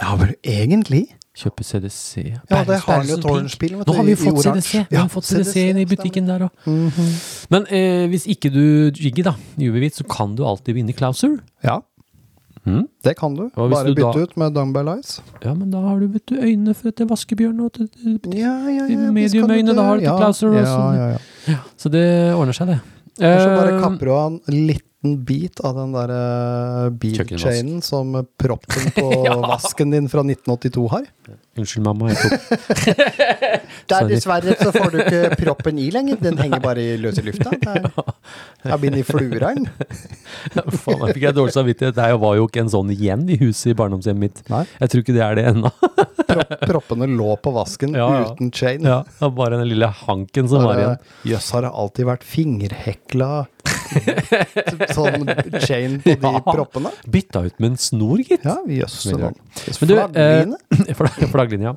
[SPEAKER 5] ja, vel, egentlig.
[SPEAKER 1] Kjøpe CDC.
[SPEAKER 5] Ja, det har
[SPEAKER 1] Berlesen
[SPEAKER 5] jo Torrenspill, vet
[SPEAKER 1] Nå
[SPEAKER 5] du,
[SPEAKER 1] har vi
[SPEAKER 5] i-
[SPEAKER 1] fått
[SPEAKER 5] i
[SPEAKER 1] CDC.
[SPEAKER 5] oransje.
[SPEAKER 1] Vi
[SPEAKER 5] Ja,
[SPEAKER 1] har fått CDC inn i
[SPEAKER 5] stemmer. Mhm.
[SPEAKER 1] butikken der òg. Men eh, hvis ikke du jigger, da, juvehvitt, så kan du alltid vinne Klauser.
[SPEAKER 5] Ja. Det kan du.
[SPEAKER 1] Og hvis
[SPEAKER 5] Bare
[SPEAKER 1] du da-
[SPEAKER 5] bytte ut med Dumbbell Eyes.
[SPEAKER 1] Ja, men da har du vet du, øynene for etter vaskebjørn og til- til-
[SPEAKER 5] Ja, ja,
[SPEAKER 1] I
[SPEAKER 5] visst
[SPEAKER 1] medium
[SPEAKER 5] kan du
[SPEAKER 1] øyne,
[SPEAKER 5] det.
[SPEAKER 1] da har du ikke Klauser og
[SPEAKER 5] Ja,
[SPEAKER 1] sånn.
[SPEAKER 5] ja, ja.
[SPEAKER 1] Så det ordner seg, det.
[SPEAKER 5] Eller så bare
[SPEAKER 1] Eh,
[SPEAKER 5] kapper du av en liten bit av den der eh, bilchainen som eh, proppen på vasken din fra 1982 har.
[SPEAKER 1] Unnskyld, mamma. Jeg tok,
[SPEAKER 5] Der,
[SPEAKER 1] Sorry.
[SPEAKER 5] dessverre så får du ikke proppen i lenger, den henger bare i løse lufta. Jeg begynner i flureren.
[SPEAKER 1] faen, jeg fikk jeg dårlig samvittighet. Det her var jo ikke en sånn igjen i huset i barndomshjemmet mitt.
[SPEAKER 5] Nei.
[SPEAKER 1] Jeg tror ikke det er det ennå.
[SPEAKER 5] Propp, proppene lå på vasken
[SPEAKER 1] Ja, ja.
[SPEAKER 5] uten chain.
[SPEAKER 1] Ja, sånn det var bare den lille hanken som var
[SPEAKER 5] Bare,
[SPEAKER 1] igjen.
[SPEAKER 5] Jøss, har det alltid vært fingerhekla sånn chain på de
[SPEAKER 1] Ja.
[SPEAKER 5] proppene?
[SPEAKER 1] Bytta ut med en snor, gitt.
[SPEAKER 5] Ja, jøss.
[SPEAKER 1] Veldig
[SPEAKER 5] sånn.
[SPEAKER 1] rart. Men du,
[SPEAKER 5] Flaggline?
[SPEAKER 1] eh, flagg- flagglinja.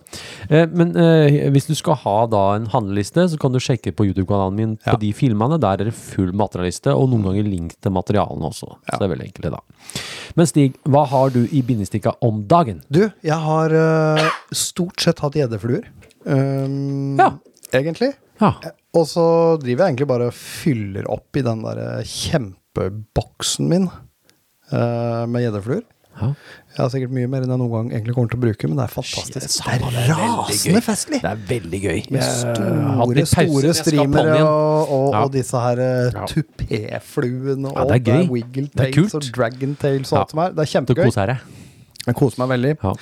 [SPEAKER 1] Eh, men eh, hvis du skal ha da en handleliste, så kan du sjekke på YouTube-kanalen min på de filmene. Der er det full materialiste, og noen ganger link til materialene også. Så det er veldig enkelt, det da. Men Stig, hva har du i bindestikka om dagen?
[SPEAKER 5] Du, jeg har eh, stort sett hatt gjeddefluer. Um,
[SPEAKER 1] Ja.
[SPEAKER 5] Egentlig.
[SPEAKER 1] Ja.
[SPEAKER 5] Og så driver jeg egentlig bare og fyller opp i den der kjempeboksen min eh, med gjeddefluer.
[SPEAKER 1] Ja.
[SPEAKER 5] Jeg har sikkert mye mer enn jeg noen gang egentlig kommer til å bruke, men det er fantastisk.
[SPEAKER 1] Shit, samme, det er veldig gøy.
[SPEAKER 5] rasende festlig!
[SPEAKER 1] Det er veldig gøy.
[SPEAKER 5] Med store,
[SPEAKER 1] litt pause, men
[SPEAKER 5] store
[SPEAKER 1] jeg skal
[SPEAKER 5] streamere
[SPEAKER 1] på den igjen.
[SPEAKER 5] og, og,
[SPEAKER 1] Ja.
[SPEAKER 5] og disse her eh,
[SPEAKER 1] Ja.
[SPEAKER 5] tupéfluene og
[SPEAKER 1] Ja, det er
[SPEAKER 5] alt
[SPEAKER 1] gøy.
[SPEAKER 5] wiggle
[SPEAKER 1] Det er
[SPEAKER 5] tails
[SPEAKER 1] kult.
[SPEAKER 5] og dragon tails og
[SPEAKER 1] Ja.
[SPEAKER 5] alt som er. Det er
[SPEAKER 1] Du
[SPEAKER 5] kjempegøy.
[SPEAKER 1] koser deg.
[SPEAKER 5] Jeg koser meg veldig.
[SPEAKER 1] Ja.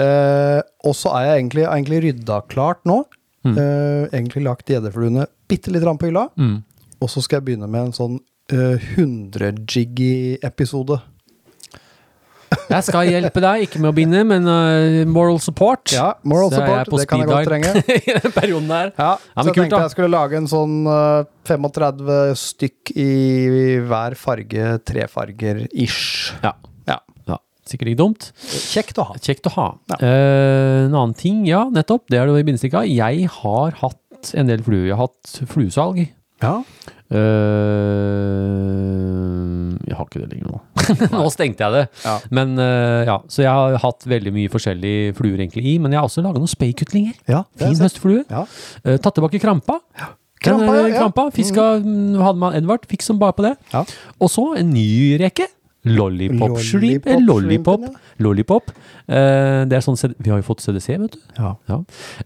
[SPEAKER 5] Eh, og så er jeg egentlig, egentlig rydda klart nå. Eh, egentlig lagt gjeddefluene bitte litt på hylla.
[SPEAKER 1] Mm.
[SPEAKER 5] Og så skal jeg begynne med en sånn eh, 100-jiggy-episode.
[SPEAKER 1] Jeg skal hjelpe deg, ikke med å binde, men øh, moral support.
[SPEAKER 5] Ja, moral
[SPEAKER 1] Så er jeg
[SPEAKER 5] support,
[SPEAKER 1] på
[SPEAKER 5] det kan jeg godt
[SPEAKER 1] speed
[SPEAKER 5] trenge.
[SPEAKER 1] dial I den perioden der.
[SPEAKER 5] Ja,
[SPEAKER 1] Ja,
[SPEAKER 5] så
[SPEAKER 1] men
[SPEAKER 5] jeg
[SPEAKER 1] kult,
[SPEAKER 5] tenkte
[SPEAKER 1] da.
[SPEAKER 5] jeg skulle lage en sånn eh, 35 stykk i, i hver farge, tre farger ish.
[SPEAKER 1] Ja.
[SPEAKER 5] Ja.
[SPEAKER 1] ja. Sikkert ikke dumt.
[SPEAKER 5] Kjekt å ha.
[SPEAKER 1] Kjekt å ha.
[SPEAKER 5] Ja.
[SPEAKER 1] Eh, en annen ting, ja, nettopp. Det er det i bindestikka. Jeg har hatt en del fluer. Jeg har hatt fluesalg.
[SPEAKER 5] Ja.
[SPEAKER 1] Eh, jeg har ikke det lenger nå. nå stengte jeg det.
[SPEAKER 5] Ja.
[SPEAKER 1] Men eh, ja, Så jeg har hatt veldig mye forskjellige fluer egentlig i. Men jeg har også laga noen speikutlinger.
[SPEAKER 5] Ja, det har jeg
[SPEAKER 1] Fin
[SPEAKER 5] sett.
[SPEAKER 1] høstflue.
[SPEAKER 5] Ja.
[SPEAKER 1] Eh, tatt tilbake krampa. Den,
[SPEAKER 5] Krampa, ja,
[SPEAKER 1] eh,
[SPEAKER 5] ja.
[SPEAKER 1] krampa. Fiska mm, hadde man Edvard. Fikk som bare på det.
[SPEAKER 5] Ja.
[SPEAKER 1] Og så en ny reke. Lollipop shrimp. eh,
[SPEAKER 5] Lollipop
[SPEAKER 1] Lollipop.
[SPEAKER 5] shrimp,
[SPEAKER 1] Lollipop. Eh, det er sånn, CD vi har jo fått CDC, vet du.
[SPEAKER 5] Ja.
[SPEAKER 1] Ja.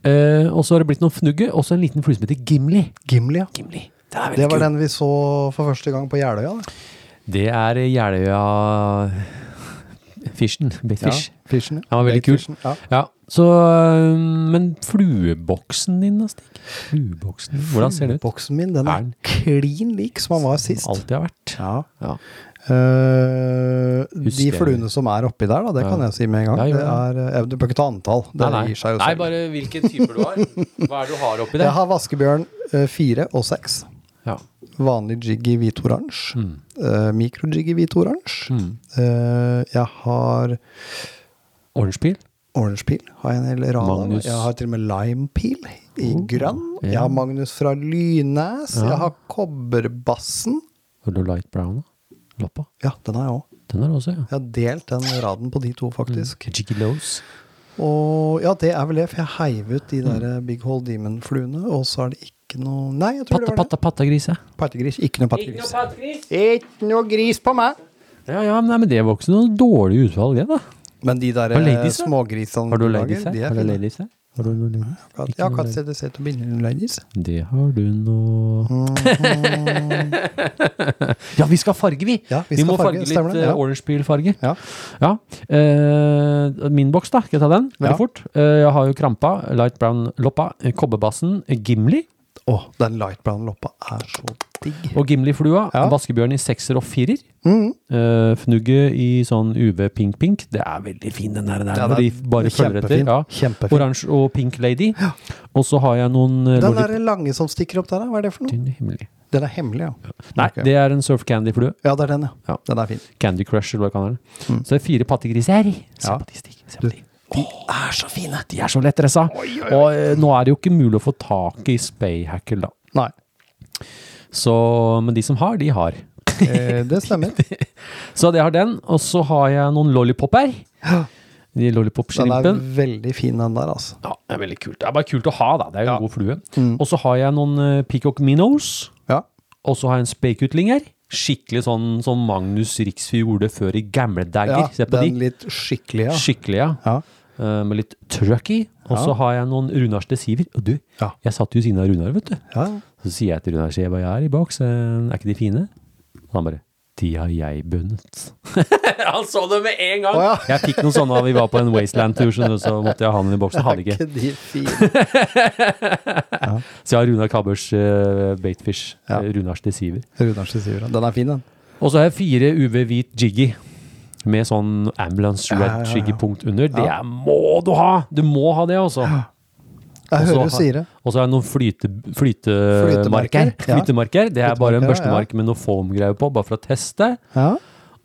[SPEAKER 1] Eh, og så har det blitt noen fnugge, og så en liten flue som heter Gimli.
[SPEAKER 5] Gimli, ja.
[SPEAKER 1] Gimli. Det er
[SPEAKER 5] Det
[SPEAKER 1] veldig
[SPEAKER 5] var
[SPEAKER 1] kult.
[SPEAKER 5] den vi så for første gang på Jeløya. da.
[SPEAKER 1] Det er eh, Jeløya Fishen. Fish.
[SPEAKER 5] Ja, fishen,
[SPEAKER 1] Den var veldig kul.
[SPEAKER 5] Fishen, ja.
[SPEAKER 1] Ja. Så, eh, men flueboksen din, da, Stig? Flueboksen, hvordan ser det ut?
[SPEAKER 5] Boksen min den
[SPEAKER 1] Er
[SPEAKER 5] er
[SPEAKER 1] den?
[SPEAKER 5] klin lik som han var sist.
[SPEAKER 1] Alltid har vært.
[SPEAKER 5] Ja.
[SPEAKER 1] Ja.
[SPEAKER 5] Eh, de
[SPEAKER 1] Husker jeg.
[SPEAKER 5] fluene som er oppi der, da, det
[SPEAKER 1] Ja.
[SPEAKER 5] kan jeg si med en gang.
[SPEAKER 1] Ja, gjør
[SPEAKER 5] det er, eh, du bør ikke ta antall. Det
[SPEAKER 1] nei, nei.
[SPEAKER 5] gir seg jo
[SPEAKER 1] nei,
[SPEAKER 5] selv.
[SPEAKER 1] bare hvilken type du har. Hva er det du har oppi
[SPEAKER 5] Jeg
[SPEAKER 1] der?
[SPEAKER 5] har vaskebjørn eh, fire og seks.
[SPEAKER 1] Ja.
[SPEAKER 5] Vanlig jiggy hvitoransje.
[SPEAKER 1] Mm.
[SPEAKER 5] Eh, Mikro-jiggy hvitoransje. Eh, jeg har
[SPEAKER 1] Orange-pil?
[SPEAKER 5] orange pil. Har jeg en hel rad av.
[SPEAKER 1] Magnus. Oh,
[SPEAKER 5] Jeg har til og med lime pil i grønn. Jeg har Magnus fra Lynæs.
[SPEAKER 1] Ja.
[SPEAKER 5] Jeg har kobberbassen.
[SPEAKER 1] Har du light brown? da? Loppa?
[SPEAKER 5] Ja, den har jeg òg.
[SPEAKER 1] Den er det også, ja.
[SPEAKER 5] Jeg har delt den raden på de to, faktisk.
[SPEAKER 1] Jiggy lows.
[SPEAKER 5] Og ja, det er vel det, for jeg heiv ut
[SPEAKER 1] Mm.
[SPEAKER 5] de der eh, Big Hole Demon-fluene, og så er det ikke noe Nei, jeg tror
[SPEAKER 1] Patta,
[SPEAKER 5] det var det.
[SPEAKER 1] patta, pattegris, ja.
[SPEAKER 5] Pattegris. Ikke noe pattegris. Ikke noe gris på meg!
[SPEAKER 1] Ja, ja, men, nei, men det var ikke så noe dårlig utvalg, det, da.
[SPEAKER 5] Men de der
[SPEAKER 1] Har
[SPEAKER 5] eh,
[SPEAKER 1] ladies, da?
[SPEAKER 5] smågrisene
[SPEAKER 1] Har du
[SPEAKER 5] lager,
[SPEAKER 1] ladies her?
[SPEAKER 5] de er
[SPEAKER 1] Har du
[SPEAKER 5] fine.
[SPEAKER 1] ladies her? Har du noe ladies?
[SPEAKER 5] Jeg har ikke-
[SPEAKER 1] Ikke
[SPEAKER 5] Jeg har
[SPEAKER 1] noe
[SPEAKER 5] ikke hatt CDC til å binde noen ladies.
[SPEAKER 1] Det har du nå Ja, vi skal farge, vi!
[SPEAKER 5] Ja, vi
[SPEAKER 1] vi,
[SPEAKER 5] skal
[SPEAKER 1] må
[SPEAKER 5] farge,
[SPEAKER 1] farge,
[SPEAKER 5] stemmer
[SPEAKER 1] litt eh,
[SPEAKER 5] det,
[SPEAKER 1] ja.
[SPEAKER 5] ja.
[SPEAKER 1] orange-pil-farge.
[SPEAKER 5] Ja.
[SPEAKER 1] Ja. Eh, min boks, da. Skal jeg ta den veldig
[SPEAKER 5] Ja.
[SPEAKER 1] fort? Eh, jeg har jo krampa, light brown loppa, eh, kobberbassen, eh, Gimli
[SPEAKER 5] Åh, den light brown loppa er så digg.
[SPEAKER 1] og Gimli-flua.
[SPEAKER 5] Ja.
[SPEAKER 1] Vaskebjørn i sekser og firer.
[SPEAKER 5] Mhm.
[SPEAKER 1] Eh, Fnugget i sånn UV-pink-pink. Det er veldig fin, den der. der
[SPEAKER 5] Ja,
[SPEAKER 1] når de
[SPEAKER 5] den
[SPEAKER 1] bare
[SPEAKER 5] er
[SPEAKER 1] følger etter.
[SPEAKER 5] kjempefin.
[SPEAKER 1] Ja.
[SPEAKER 5] Kjempefin.
[SPEAKER 1] Oransje og pink lady. Og så har jeg noen eh,
[SPEAKER 5] Den
[SPEAKER 1] Lolli-
[SPEAKER 5] der lange som stikker opp der, da, hva er det for noe?
[SPEAKER 1] Din himmel.
[SPEAKER 5] Den er hemmelig, ja.
[SPEAKER 1] Nei,
[SPEAKER 5] Ok.
[SPEAKER 1] det er en Surf Candy-flue.
[SPEAKER 5] Ja, det er den,
[SPEAKER 1] Ja.
[SPEAKER 5] ja. Den er fin.
[SPEAKER 1] Candy Crush, eller hva det kan være. Så det er fire pattegriser. Se
[SPEAKER 5] Mm. Ja.
[SPEAKER 1] på de, Stig. Se på de. De er så fine! De er så lettdressa. Og eh, nå er det jo ikke mulig å få tak i Spayhacker, da.
[SPEAKER 5] Nei,
[SPEAKER 1] Så, men de som har, de har.
[SPEAKER 5] eh, det stemmer.
[SPEAKER 1] Så jeg har den, og så har jeg noen lollipoper. De
[SPEAKER 5] Den er
[SPEAKER 1] lollipop-shrimpen.
[SPEAKER 5] veldig fin, den der, altså.
[SPEAKER 1] Ja, det er veldig kult. Det er bare kult å ha, da. Det er jo en god flue.
[SPEAKER 5] Mm.
[SPEAKER 1] Og så har jeg noen eh, peacock minnows.
[SPEAKER 5] Ja.
[SPEAKER 1] Og så har jeg en spekutling her. Skikkelig sånn som Magnus Riksfjord gjorde før i gamle dager.
[SPEAKER 5] ja
[SPEAKER 1] Se på
[SPEAKER 5] den
[SPEAKER 1] de.
[SPEAKER 5] litt skikkelig, ja.
[SPEAKER 1] Skikkelig, ja.
[SPEAKER 5] ja.
[SPEAKER 1] Eh, med litt trøkk i. Og så
[SPEAKER 5] Ja.
[SPEAKER 1] har jeg noen Runars desiver. Og du,
[SPEAKER 5] Ja.
[SPEAKER 1] jeg satt jo ved siden av Runar, vet du.
[SPEAKER 5] ja.
[SPEAKER 1] Så sier jeg til Runar «Se hva jeg er i boks, eh, er ikke de fine? Og han bare De har jeg bundet. han så det med en gang!
[SPEAKER 5] Å,
[SPEAKER 1] Jeg fikk noen sånne da vi var på en Wasteland-tur, skjønner du, så måtte jeg ha den i boksen. Hadde ikke.
[SPEAKER 5] Er ikke de fine?
[SPEAKER 1] Så jeg har Runar Kabbers eh, Baitfish.
[SPEAKER 5] Ja.
[SPEAKER 1] eh, Runars desiver.
[SPEAKER 5] Runarsen sier det. Den er fin, den.
[SPEAKER 1] Og så har jeg fire UV-hvit jiggy. Med sånn ambulance red
[SPEAKER 5] Ja, ja, ja.
[SPEAKER 1] jiggy-punkt under. Det er, må du ha! Du må ha det, altså.
[SPEAKER 5] Jeg
[SPEAKER 1] Og så
[SPEAKER 5] hører du
[SPEAKER 1] har-
[SPEAKER 5] sier det.
[SPEAKER 1] Og så har jeg noen flyte, flytemarker.
[SPEAKER 5] Flytemarker, ja.
[SPEAKER 1] flytemarker. Det er bare en
[SPEAKER 5] Flytemarker, ja, ja.
[SPEAKER 1] børstemark med noe foamgreier på, bare for å teste.
[SPEAKER 5] Ja.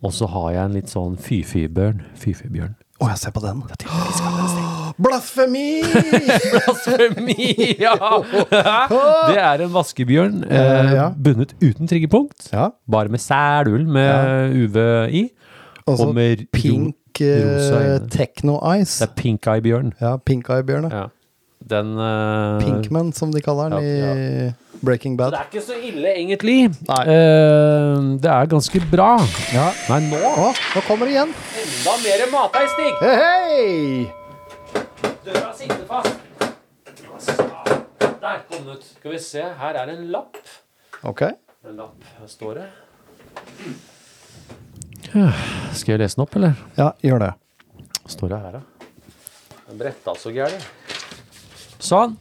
[SPEAKER 1] Og så har jeg en litt sånn fy-fy-bjørn. Fy-fy-bjørn.
[SPEAKER 5] Å, jeg ser på den. Blasfemi!
[SPEAKER 1] Blasfemi! Ja! Det er en vaskebjørn eh,
[SPEAKER 5] Eh, ja.
[SPEAKER 1] bundet uten triggerpunkt.
[SPEAKER 5] ja.
[SPEAKER 1] Bare med sælull med UV i.
[SPEAKER 5] Og så
[SPEAKER 1] Og med ro-
[SPEAKER 5] pink
[SPEAKER 1] rosa
[SPEAKER 5] eh,
[SPEAKER 1] øyne.
[SPEAKER 5] techno
[SPEAKER 1] Det
[SPEAKER 5] eyes.
[SPEAKER 1] er pink eye-bjørn.
[SPEAKER 5] Ja, pink eye bjørn. Ja.
[SPEAKER 1] Ja. Den eh,
[SPEAKER 5] Pinkman, som de kaller den
[SPEAKER 1] Ja,
[SPEAKER 5] i Breaking
[SPEAKER 1] Det
[SPEAKER 5] Bad.
[SPEAKER 1] er ikke så ille, egentlig.
[SPEAKER 5] Nei.
[SPEAKER 1] Eh, det er ganske bra.
[SPEAKER 5] Ja.
[SPEAKER 1] Nei, nå
[SPEAKER 5] Å, nå kommer det igjen!
[SPEAKER 1] enda mer mateistikk!
[SPEAKER 5] Hei, hei!
[SPEAKER 1] Døra sitter fast. Der kom den ut. Skal vi se, her er en lapp.
[SPEAKER 5] Ok.
[SPEAKER 1] En lapp, her står det. Øh, Skal jeg lese den opp, eller?
[SPEAKER 5] Ja, gjør det.
[SPEAKER 1] står det her, da? Den bretta så gæren. Sånn.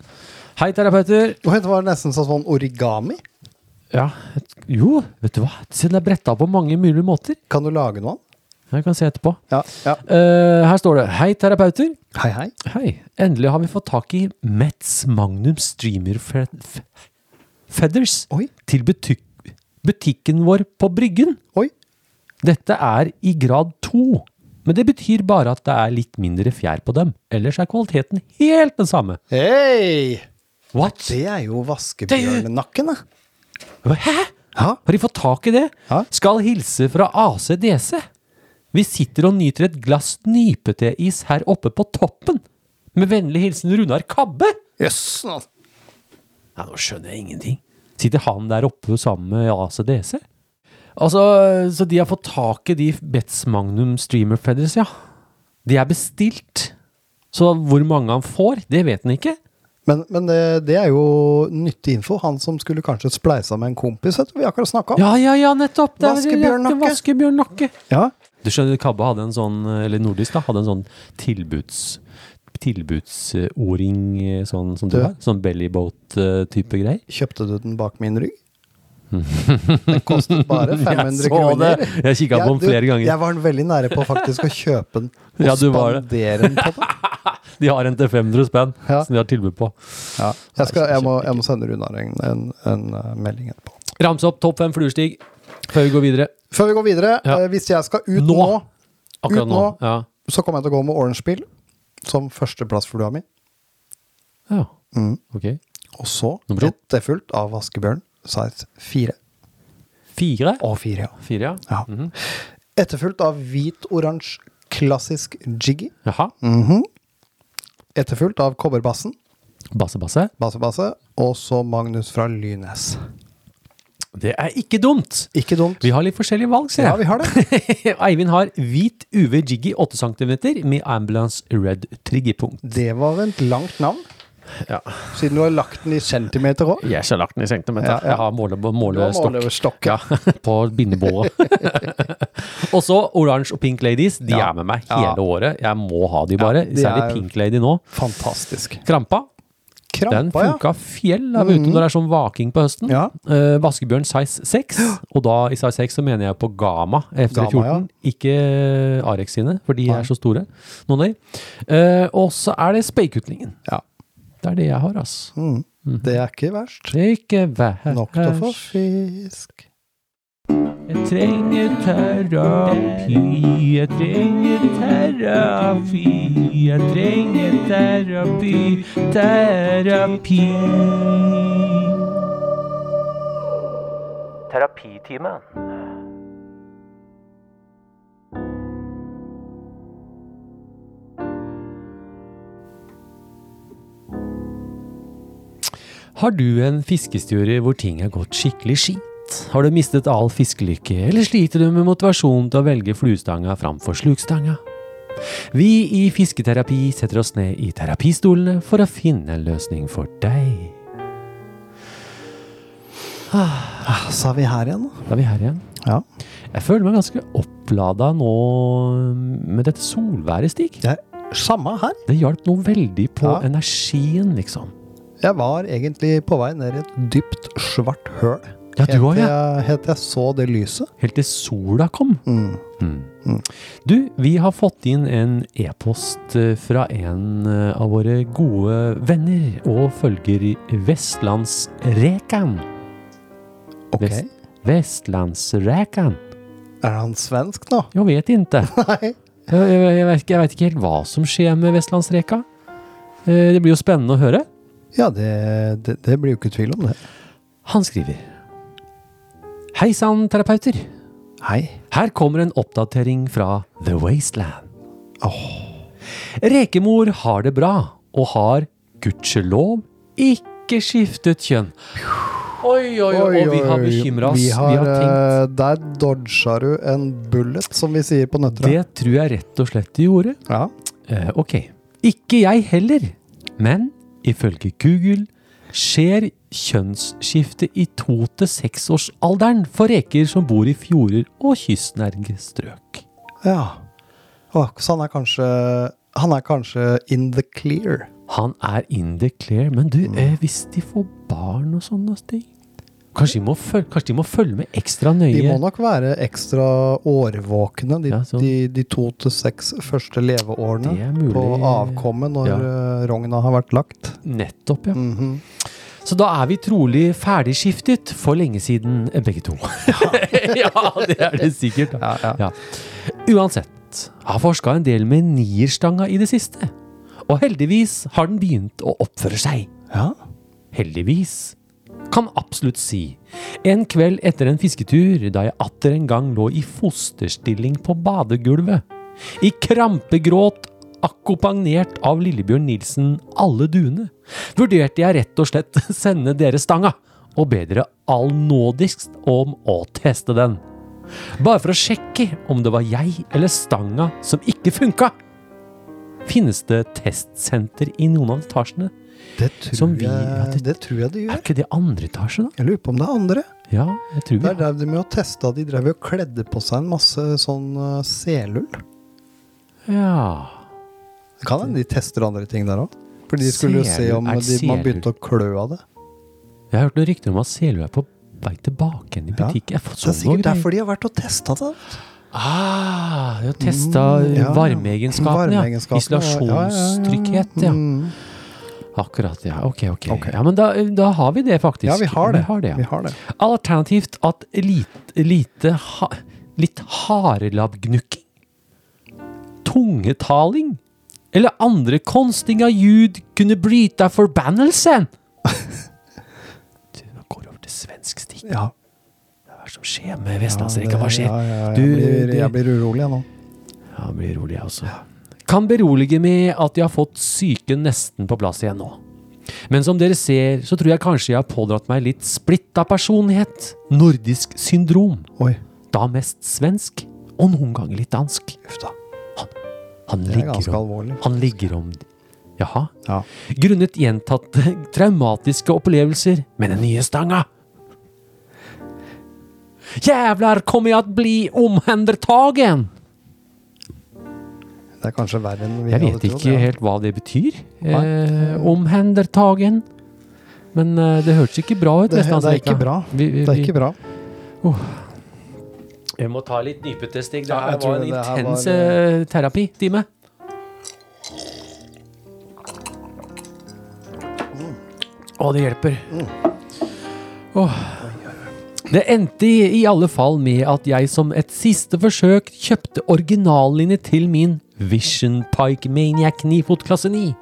[SPEAKER 1] Hei, terapeuter.
[SPEAKER 5] Oi, Det var nesten sånn sånn origami.
[SPEAKER 1] Ja, et- jo, vet du hva? Siden det er bretta på mange mulige måter.
[SPEAKER 5] Kan du lage noe?
[SPEAKER 1] Jeg kan se etterpå.
[SPEAKER 5] Ja. ja.
[SPEAKER 1] Eh, her står det Hei, terapeuter.
[SPEAKER 5] Hei, hei.
[SPEAKER 1] Hei. Endelig har vi fått tak i Metz Magnum Streamer fe fe Feathers
[SPEAKER 5] Oi.
[SPEAKER 1] til butik butikken vår på Bryggen.
[SPEAKER 5] Oi.
[SPEAKER 1] Dette er i grad to, men det betyr bare at det er litt mindre fjær på dem. Ellers er kvaliteten helt den samme.
[SPEAKER 5] Hei!
[SPEAKER 1] What?
[SPEAKER 5] Det er jo vaskebjørnenakken, da.
[SPEAKER 1] Hæ?
[SPEAKER 5] Ja.
[SPEAKER 1] Har de fått tak i det?
[SPEAKER 5] Ja.
[SPEAKER 1] Skal hilse fra ACDC. Vi sitter og nyter et glass nypeteis her oppe på toppen. Med vennlig hilsen Runar Kabbe.
[SPEAKER 5] Jøss. nå.
[SPEAKER 1] Ja, nå skjønner jeg ingenting. Sitter han der oppe sammen med ACDC? Altså, så de har fått tak i de Betz Magnum Streamer Feathers, ja. De er bestilt. Så hvor mange han får, det vet han ikke.
[SPEAKER 5] Men, men det, det er jo nyttig info. Han som skulle kanskje spleisa med en kompis, vet du, vi akkurat snakka om.
[SPEAKER 1] Ja, ja, ja, nettopp! Det er-
[SPEAKER 5] Vaskebjørnnakke.
[SPEAKER 1] Vaskebjørnnakke.
[SPEAKER 5] Ja.
[SPEAKER 1] Du skjønner, Kabba hadde en sånn, eller Nordisk da, hadde en sånn tilbuds tilbudsoring eh, sånn som du
[SPEAKER 5] Ja.
[SPEAKER 1] har. Sånn bellyboat-type greier.
[SPEAKER 5] Kjøpte du den bak min rygg? Den kostet bare 500
[SPEAKER 1] Jeg så
[SPEAKER 5] kroner.
[SPEAKER 1] det. Jeg kikket på den
[SPEAKER 5] du,
[SPEAKER 1] flere ganger.
[SPEAKER 5] Jeg var veldig nære på faktisk å kjøpe den og
[SPEAKER 1] Ja, du var det.
[SPEAKER 5] spandere den på deg.
[SPEAKER 1] De har en til 500 spenn
[SPEAKER 5] Ja.
[SPEAKER 1] som de har tilbud på.
[SPEAKER 5] Ja. Jeg, skal, jeg, må, jeg må sende Runar en, en, en eh, melding etterpå.
[SPEAKER 1] Ramse opp topp fem fluestig før vi går videre.
[SPEAKER 5] Før vi går videre,
[SPEAKER 1] Ja.
[SPEAKER 5] eh, hvis jeg skal ut
[SPEAKER 1] Nå.
[SPEAKER 5] nå,
[SPEAKER 1] Akkurat
[SPEAKER 5] Ut
[SPEAKER 1] nå.
[SPEAKER 5] nå.
[SPEAKER 1] Ja.
[SPEAKER 5] så kommer jeg til å gå med Orange Peel som førsteplass for flua mi.
[SPEAKER 1] ja.
[SPEAKER 5] Mm.
[SPEAKER 1] Ok.
[SPEAKER 5] Og så
[SPEAKER 1] Nummer to.
[SPEAKER 5] etterfulgt av Vaskebjørn size 4.
[SPEAKER 1] Fire?
[SPEAKER 5] Og 4, ja.
[SPEAKER 1] Fire, ja.
[SPEAKER 5] ja. Etterfulgt av hvit-oransje klassisk jiggy.
[SPEAKER 1] Jaha.
[SPEAKER 5] Mm. Etterfulgt av kobberbassen,
[SPEAKER 1] Basse, basse.
[SPEAKER 5] basse-basse, og så Magnus fra Lynes.
[SPEAKER 1] Det er ikke dumt!
[SPEAKER 5] Ikke dumt.
[SPEAKER 1] Vi har litt forskjellige valg, ser jeg.
[SPEAKER 5] Ja, vi har det.
[SPEAKER 1] Eivind har hvit UV Jiggy 8 cm med Ambulance Red triggerpunkt.
[SPEAKER 5] Det var et langt navn,
[SPEAKER 1] Ja.
[SPEAKER 5] siden du har lagt den i centimeter òg.
[SPEAKER 1] Jeg skal ha lagt den i centimeter.
[SPEAKER 5] Ja, ja.
[SPEAKER 1] Jeg har måle,
[SPEAKER 5] Du har
[SPEAKER 1] målestokk.
[SPEAKER 5] målestokk,
[SPEAKER 1] ja. På bindebåret. og så Orange og Pink Ladies. De
[SPEAKER 5] Ja.
[SPEAKER 1] er med meg hele
[SPEAKER 5] Ja.
[SPEAKER 1] året. Jeg må ha de bare.
[SPEAKER 5] de
[SPEAKER 1] Særlig
[SPEAKER 5] er-
[SPEAKER 1] Pink Lady nå.
[SPEAKER 5] Fantastisk.
[SPEAKER 1] Krampa. Den
[SPEAKER 5] Krampa, ja. Mm.
[SPEAKER 1] funka fjell der ute når det er sånn vaking på høsten.
[SPEAKER 5] Ja.
[SPEAKER 1] Eh, vaskebjørn size 6, og da i size 6 så mener jeg på Gama F314.
[SPEAKER 5] Gama, ja.
[SPEAKER 1] Ikke eh, Arex sine, for de er så store. Noen av de. Eh, og så er det Speikutlingen.
[SPEAKER 5] ja.
[SPEAKER 1] Det er det jeg har, ass.
[SPEAKER 5] Mm.
[SPEAKER 1] Mhm.
[SPEAKER 5] Det er ikke verst.
[SPEAKER 1] Det er ikke verst.
[SPEAKER 5] Nok til å få fisk.
[SPEAKER 1] Jeg trenger terapi, jeg trenger terapi, jeg trenger terapi, terapi.
[SPEAKER 2] Terapitimen.
[SPEAKER 1] Har du en fiskehistorie hvor ting har gått skikkelig skit? Har du mistet all fiskelykke, eller sliter du med motivasjon til å velge fluestanga framfor slukstanga? Vi i Fisketerapi setter oss ned i terapistolene for å finne en løsning for deg.
[SPEAKER 5] Ah, Så er vi her igjen, da.
[SPEAKER 1] Da er vi her igjen.
[SPEAKER 5] Ja.
[SPEAKER 1] Jeg føler meg ganske opplada nå med dette solværet, Stig.
[SPEAKER 5] Det er samme her.
[SPEAKER 1] Det hjalp noe veldig på
[SPEAKER 5] Ja.
[SPEAKER 1] energien, liksom.
[SPEAKER 5] Jeg var egentlig på vei ned i et dypt, svart høl.
[SPEAKER 1] Ja, du òg,
[SPEAKER 5] Helt til
[SPEAKER 1] ja.
[SPEAKER 5] jeg- Helt til jeg så det lyset.
[SPEAKER 1] Helt til sola kom.
[SPEAKER 5] Mm.
[SPEAKER 1] Du, vi har fått inn en e-post eh, fra en eh, av våre gode venner og følger i Vestlandsrekan.
[SPEAKER 5] Ok.
[SPEAKER 1] Vest- Vestlandsrekan?
[SPEAKER 5] Er han svensk nå?
[SPEAKER 1] Jeg vet ikke.
[SPEAKER 5] Nei.
[SPEAKER 1] Jeg, jeg, jeg, vet, ikke- jeg vet ikke helt hva som skjer med Vestlandsreka. Eh, Det blir jo spennende å høre.
[SPEAKER 5] Ja, det, det, det blir jo ikke tvil om det.
[SPEAKER 1] Han skriver Hei sann, terapeuter.
[SPEAKER 5] Hei.
[SPEAKER 1] Her kommer en oppdatering fra The Wasteland. Rekemor har det bra og har gudskjelov ikke skiftet kjønn. Oi, oi, oi, og vi har bekymra oss.
[SPEAKER 5] Vi har,
[SPEAKER 1] tenkt.
[SPEAKER 5] eh, Der dodga du en bullet, som vi sier på Nøtterøy.
[SPEAKER 1] Det tror jeg rett og slett de gjorde.
[SPEAKER 5] Ja.
[SPEAKER 1] Eh, ok. Ikke jeg heller. Men ifølge Google skjer kjønnsskifte i to til seksårsalderen for reker som bor i fjorder og kystnærme strøk.
[SPEAKER 5] ja. Å, så han er kanskje Han er kanskje in the clear.
[SPEAKER 1] Han er in the clear, men du,
[SPEAKER 5] Mm.
[SPEAKER 1] eh, hvis de får barn og sånne ting Kanskje de må følge, kanskje de må følge med ekstra nøye?
[SPEAKER 5] De må nok være ekstra årvåkne de,
[SPEAKER 1] Ja, sånn.
[SPEAKER 5] de, de to til seks første leveårene
[SPEAKER 1] Det er mulig.
[SPEAKER 5] på avkommet når
[SPEAKER 1] Ja.
[SPEAKER 5] eh, rogna har vært lagt.
[SPEAKER 1] Nettopp, ja.
[SPEAKER 5] Mhm.
[SPEAKER 1] Så da er vi trolig ferdigskiftet for lenge siden, eh, begge to. Ja, det er det sikkert. da.
[SPEAKER 5] Ja, ja.
[SPEAKER 1] Ja. Uansett, jeg har forska en del med nierstanga i det siste. Og heldigvis har den begynt å oppføre seg.
[SPEAKER 5] Ja.
[SPEAKER 1] Heldigvis. Kan absolutt si. En kveld etter en fisketur, da jeg atter en gang lå i fosterstilling på badegulvet. I krampegråt, akkompagnert av Lillebjørn Nilsen Alle duene, vurderte jeg rett og slett sende dere stanga, og be dere allnådigst om å teste den. Bare for å sjekke om det var jeg eller stanga som ikke funka. Finnes det testsenter i noen av etasjene?
[SPEAKER 5] Det tror,
[SPEAKER 1] Som vi- ja,
[SPEAKER 5] jeg,
[SPEAKER 1] det-
[SPEAKER 5] det, tror jeg de
[SPEAKER 1] Er
[SPEAKER 5] gjør.
[SPEAKER 1] ikke det andre etasje, da?
[SPEAKER 5] Jeg lurer på om det er andre.
[SPEAKER 1] Ja, jeg tror vi
[SPEAKER 5] Der drev de med å teste. De drev jo og kledde på seg en masse sånn eh, selull.
[SPEAKER 1] Ja.
[SPEAKER 5] Det kan hende de tester andre ting der òg. Fordi de skulle jo se
[SPEAKER 1] Selull,
[SPEAKER 5] om
[SPEAKER 1] er
[SPEAKER 5] de, man
[SPEAKER 1] selull-
[SPEAKER 5] begynte å klø av det.
[SPEAKER 1] Jeg har hørt noen rykter om at Selve er på vei tilbake igjen i
[SPEAKER 5] Ja.
[SPEAKER 1] butikken. Jeg har fått
[SPEAKER 5] Det er
[SPEAKER 1] sånne
[SPEAKER 5] sikkert
[SPEAKER 1] Sånn greier.
[SPEAKER 5] derfor de har vært og testa det.
[SPEAKER 1] Ah, de har testa
[SPEAKER 5] Mm, ja.
[SPEAKER 1] varmeegenskapene, ja.
[SPEAKER 5] Varmeegenskapene, ja, ja, ja, ja.
[SPEAKER 1] Isolasjonstrygghet, ja.
[SPEAKER 5] Mm.
[SPEAKER 1] Akkurat, ja. Ok, ok.
[SPEAKER 5] Ok.
[SPEAKER 1] Ja, Men da, da har vi det, faktisk.
[SPEAKER 5] Ja, vi har det.
[SPEAKER 1] Vi har det, ja.
[SPEAKER 5] Vi har det.
[SPEAKER 1] Alternativt at lite, lite ha, litt harelabbgnukking, tungetaling eller andre konstinga ljud kunne bryta forbannelsen. Du, nå går det over til svensk stikk.
[SPEAKER 5] Ja.
[SPEAKER 1] Hva er det som skjer med Vestlandsrekka? Hva
[SPEAKER 5] Ja,
[SPEAKER 1] skjer?
[SPEAKER 5] ja, ja, jeg,
[SPEAKER 1] Du,
[SPEAKER 5] blir,
[SPEAKER 1] du-
[SPEAKER 5] jeg blir urolig jeg nå.
[SPEAKER 1] Ja, jeg blir rolig, jeg også. Kan berolige med at jeg har fått psyken nesten på plass igjen nå. Men som dere ser, så tror jeg kanskje jeg har pådratt meg litt splitta personlighet. Nordisk syndrom.
[SPEAKER 5] Oi,
[SPEAKER 1] Da mest svensk, og noen ganger litt dansk.
[SPEAKER 5] uff da.
[SPEAKER 1] Han
[SPEAKER 5] Det er
[SPEAKER 1] ligger
[SPEAKER 5] ganske
[SPEAKER 1] om,
[SPEAKER 5] alvorlig.
[SPEAKER 1] han ligger om Jaha.
[SPEAKER 5] Ja.
[SPEAKER 1] Grunnet gjentatte traumatiske opplevelser med den nye stanga. Jævlar kommer jeg til å bli omhendertagen!
[SPEAKER 5] Det er kanskje verre enn vi
[SPEAKER 1] Jeg vet
[SPEAKER 5] hadde trodd.
[SPEAKER 1] ikke
[SPEAKER 5] ja.
[SPEAKER 1] helt hva det betyr.
[SPEAKER 5] Nei.
[SPEAKER 1] Eh, omhendertagen. Men eh, det hørtes ikke bra ut.
[SPEAKER 5] Det, det er
[SPEAKER 1] Vestlandsrekka.
[SPEAKER 5] ikke bra.
[SPEAKER 1] Vi, vi,
[SPEAKER 5] Det er ikke bra.
[SPEAKER 1] Vi, vi må ta litt dypete stikk. Det
[SPEAKER 5] Ja,
[SPEAKER 1] her var
[SPEAKER 5] jeg tror
[SPEAKER 1] en
[SPEAKER 5] det her
[SPEAKER 1] intens
[SPEAKER 5] var,
[SPEAKER 1] eh, terapitime. Å, det hjelper. Åh. Det endte i, i alle fall med at jeg som et siste forsøk kjøpte originallinje til min Vision Pike Maniac 9-fot klasse 9.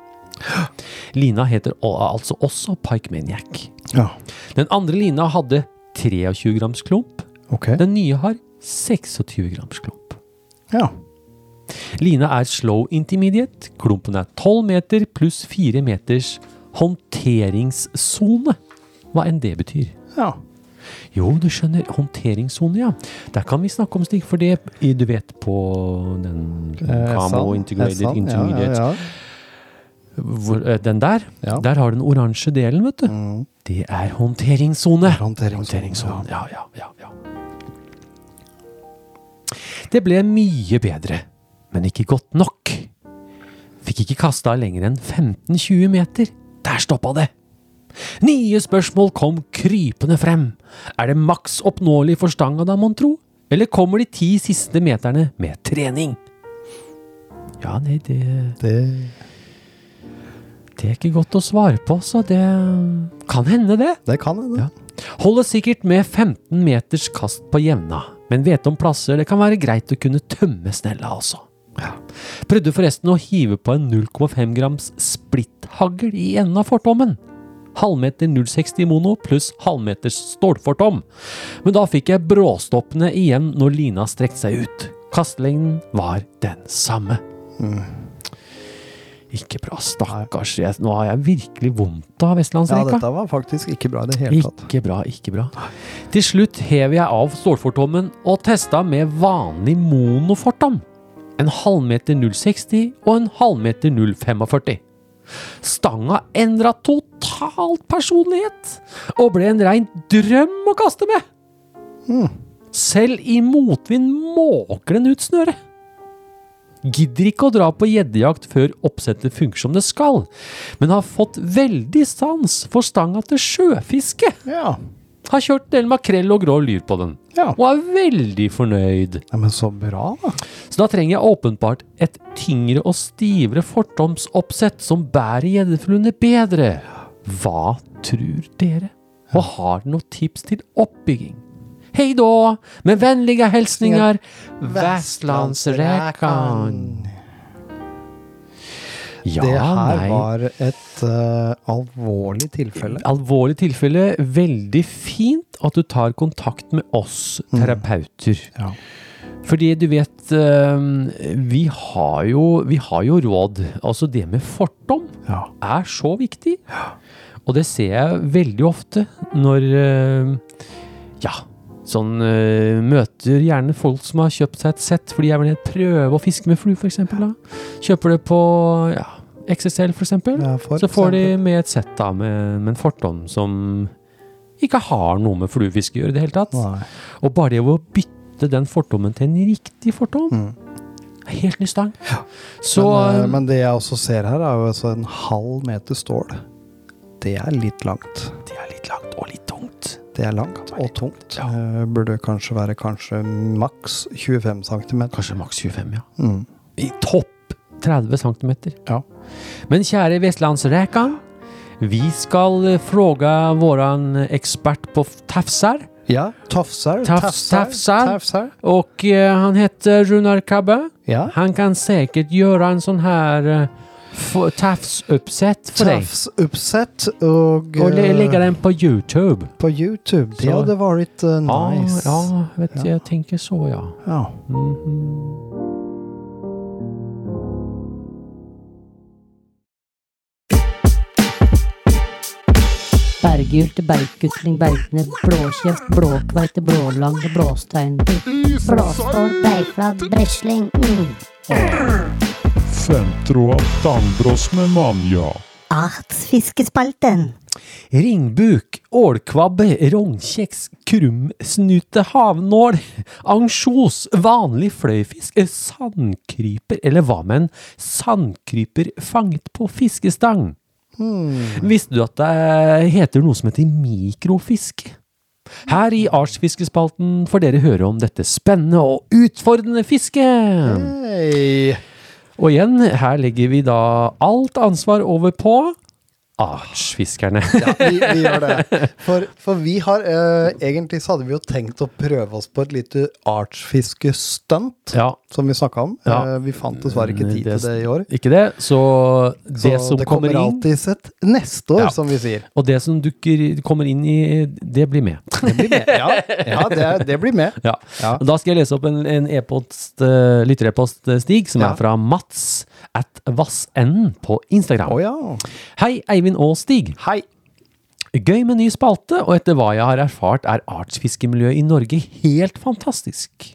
[SPEAKER 1] Lina heter al- altså også Pike Maniac.
[SPEAKER 5] Ja,
[SPEAKER 1] Den andre lina hadde 23 grams klump.
[SPEAKER 5] ok.
[SPEAKER 1] Den nye har 26 grams klump.
[SPEAKER 5] Ja.
[SPEAKER 1] Lina er slow intermediate. Klumpen er 12 meter pluss 4 meters håndteringssone. Hva enn det betyr.
[SPEAKER 5] ja.
[SPEAKER 1] Jo, du skjønner. Håndteringssone, ja. Der kan vi snakke om stikk, for det i- du vet på den
[SPEAKER 5] Eh,
[SPEAKER 1] Camo
[SPEAKER 5] sant.
[SPEAKER 1] Integrated
[SPEAKER 5] Eh, sant.
[SPEAKER 1] Intermediate
[SPEAKER 5] Ja, ja,
[SPEAKER 1] hvor, eh, Den der.
[SPEAKER 5] Ja.
[SPEAKER 1] Der har du den oransje delen, vet du.
[SPEAKER 5] ja. Mm.
[SPEAKER 1] Det er håndteringssone.
[SPEAKER 5] Håndteringssone,
[SPEAKER 1] Håndteringssone, Ja, ja, ja, ja. Det ble mye bedre, men ikke godt nok. Fikk ikke kasta lenger enn 15-20 meter. Der stoppa det. Nye spørsmål kom krypende frem. Er det maks oppnåelig for stanga da, mon tro? Eller kommer de ti siste meterne med trening? Ja, nei, det
[SPEAKER 5] Det
[SPEAKER 1] det er ikke godt å svare på, så det kan hende, det.
[SPEAKER 5] Det kan hende.
[SPEAKER 1] Ja. Holder sikkert med 15 meters kast på jevna, men vet om plasser det kan være greit å kunne tømme snella også. Prøvde forresten å hive på en 0,5 grams splitthagl i enden av fortommen. Halvmeter 0,60 mono pluss halvmeters stålfortom. Men da fikk jeg bråstoppene igjen når lina strekte seg ut. Kastelengden var den samme. Ikke bra. Stakkars. Jeg, nå har jeg virkelig vondt av
[SPEAKER 5] Ja,
[SPEAKER 1] vestlandsrekka.
[SPEAKER 5] dette var faktisk ikke bra i det hele tatt.
[SPEAKER 1] Ikke bra, ikke bra. Til slutt hev jeg av stålfortommen og testa med vanlig monofortom. En halvmeter 060 og en halvmeter 045. Stanga endra totalt personlighet og ble en rein drøm å kaste med. Selv i motvind måker den ut snøret. Gidder ikke å dra på gjeddejakt før oppsettet funker som det skal, men har fått veldig sans for stanga til sjøfiske.
[SPEAKER 5] Ja.
[SPEAKER 1] Har kjørt en del makrell og grå lyr på den,
[SPEAKER 5] ja.
[SPEAKER 1] og er veldig fornøyd.
[SPEAKER 5] Nei, men så bra, da.
[SPEAKER 1] Så da trenger jeg åpenbart et tyngre og stivere fortomsoppsett som bærer gjeddefluene bedre. Hva tror dere? Og har dere noen tips til oppbygging? Hei da, med vennlige hilsninger Vestlandsrekan. Ja,
[SPEAKER 5] det her
[SPEAKER 1] nei.
[SPEAKER 5] var et eh, alvorlig tilfelle.
[SPEAKER 1] Alvorlig tilfelle. Veldig fint at du tar kontakt med oss terapeuter.
[SPEAKER 5] Mm. Ja.
[SPEAKER 1] Fordi du vet, eh, vi har jo, vi har jo råd. Altså det med fortom
[SPEAKER 5] Ja.
[SPEAKER 1] er så viktig. Og det ser jeg veldig ofte når eh, Ja, sånn eh, møter gjerne folk som har kjøpt seg et sett fordi jeg vil prøve å fiske med flue, f.eks. Kjøper det på ja, XSL, f.eks. eksempel
[SPEAKER 5] Ja, for
[SPEAKER 1] så får de
[SPEAKER 5] eksempel.
[SPEAKER 1] med et sett da, med, med en fortom som ikke har noe med fluefiske å gjøre i det hele tatt.
[SPEAKER 5] Nei.
[SPEAKER 1] Og bare det å bytte den fortommen til en riktig fortom, er helt ny stang. Så
[SPEAKER 5] men, eh,
[SPEAKER 1] eh,
[SPEAKER 5] men det jeg også ser her, er jo altså en halv meter stål. Det er litt langt.
[SPEAKER 1] det er litt langt og litt tungt.
[SPEAKER 5] Det er langt og tungt. Eh, Burde kanskje være kanskje maks 25 cm.
[SPEAKER 1] Kanskje maks 25, ja.
[SPEAKER 5] Mm.
[SPEAKER 1] I topp 30 cm.
[SPEAKER 5] Ja.
[SPEAKER 1] Men kjære Vestlandsrekan, vi skal eh, fråga våran ekspert på f- tafsar.
[SPEAKER 5] Ja, tafsar.
[SPEAKER 1] Tafs- tafsar.
[SPEAKER 5] tafsar.
[SPEAKER 1] Og eh, han heter Runar Kabbe.
[SPEAKER 5] Ja.
[SPEAKER 1] Han kan sikkert gjøre en sånn her uh, tafsoppsett for deg.
[SPEAKER 5] Tafsuppsett og,
[SPEAKER 1] Og le-
[SPEAKER 5] eh,
[SPEAKER 1] legge den på YouTube.
[SPEAKER 5] på YouTube. Det
[SPEAKER 1] Så-
[SPEAKER 5] hadde vært eh, nice.
[SPEAKER 1] Ah, Ja, ja, vet,
[SPEAKER 5] Ja.
[SPEAKER 1] du, jeg tenker så, ja.
[SPEAKER 5] ja.
[SPEAKER 1] Mhm.
[SPEAKER 6] Bergurt, bergkutling, bergkne, blåkjeft, blåkveite, blålange, blåstein.
[SPEAKER 7] Blåskål, bergflat, bresling. Mm.
[SPEAKER 3] Femtroa dangbross med manja.
[SPEAKER 7] Artsfiskespalten.
[SPEAKER 1] Ringbuk, ålkvabbe, rognkjeks, krumsnute, havnål, ansjos, vanlig fløyfisk, eh, sandkryper, eller hva med en sandkryper fanget på fiskestang? Visste du at det heter noe som heter mikrofiske? Her i Artsfiskespalten får dere høre om dette spennende og utfordrende fisket.
[SPEAKER 5] Hei.
[SPEAKER 1] Og igjen, her legger vi da alt ansvar over på artsfiskerne.
[SPEAKER 5] Ja, vi, vi gjør det. For, for vi har eh, Egentlig så hadde vi jo tenkt å prøve oss på et lite artsfiskestunt,
[SPEAKER 1] Ja,
[SPEAKER 5] som vi snakka om.
[SPEAKER 1] Ja.
[SPEAKER 5] Eh, vi fant dessverre ikke tid til det i år.
[SPEAKER 1] ikke det? Så det
[SPEAKER 5] så
[SPEAKER 1] som
[SPEAKER 5] det
[SPEAKER 1] kommer,
[SPEAKER 5] kommer
[SPEAKER 1] inn,
[SPEAKER 5] alltids et neste år,
[SPEAKER 1] Ja.
[SPEAKER 5] som vi sier.
[SPEAKER 1] og det som dukker, kommer inn i, det blir med.
[SPEAKER 5] Det blir med. Ja, ja det, er- det blir med.
[SPEAKER 1] Ja.
[SPEAKER 5] Ja.
[SPEAKER 1] Og Da skal jeg lese opp en, en e-post, eh, lytterepost, eh, Stig, som
[SPEAKER 5] Ja.
[SPEAKER 1] er fra Mats at Vassenden på Instagram.
[SPEAKER 5] Å ja.
[SPEAKER 1] Hei, Eivind og Stig.
[SPEAKER 5] Hei.
[SPEAKER 1] Gøy med ny spalte, og etter hva jeg har erfart er artsfiskemiljøet i Norge helt fantastisk.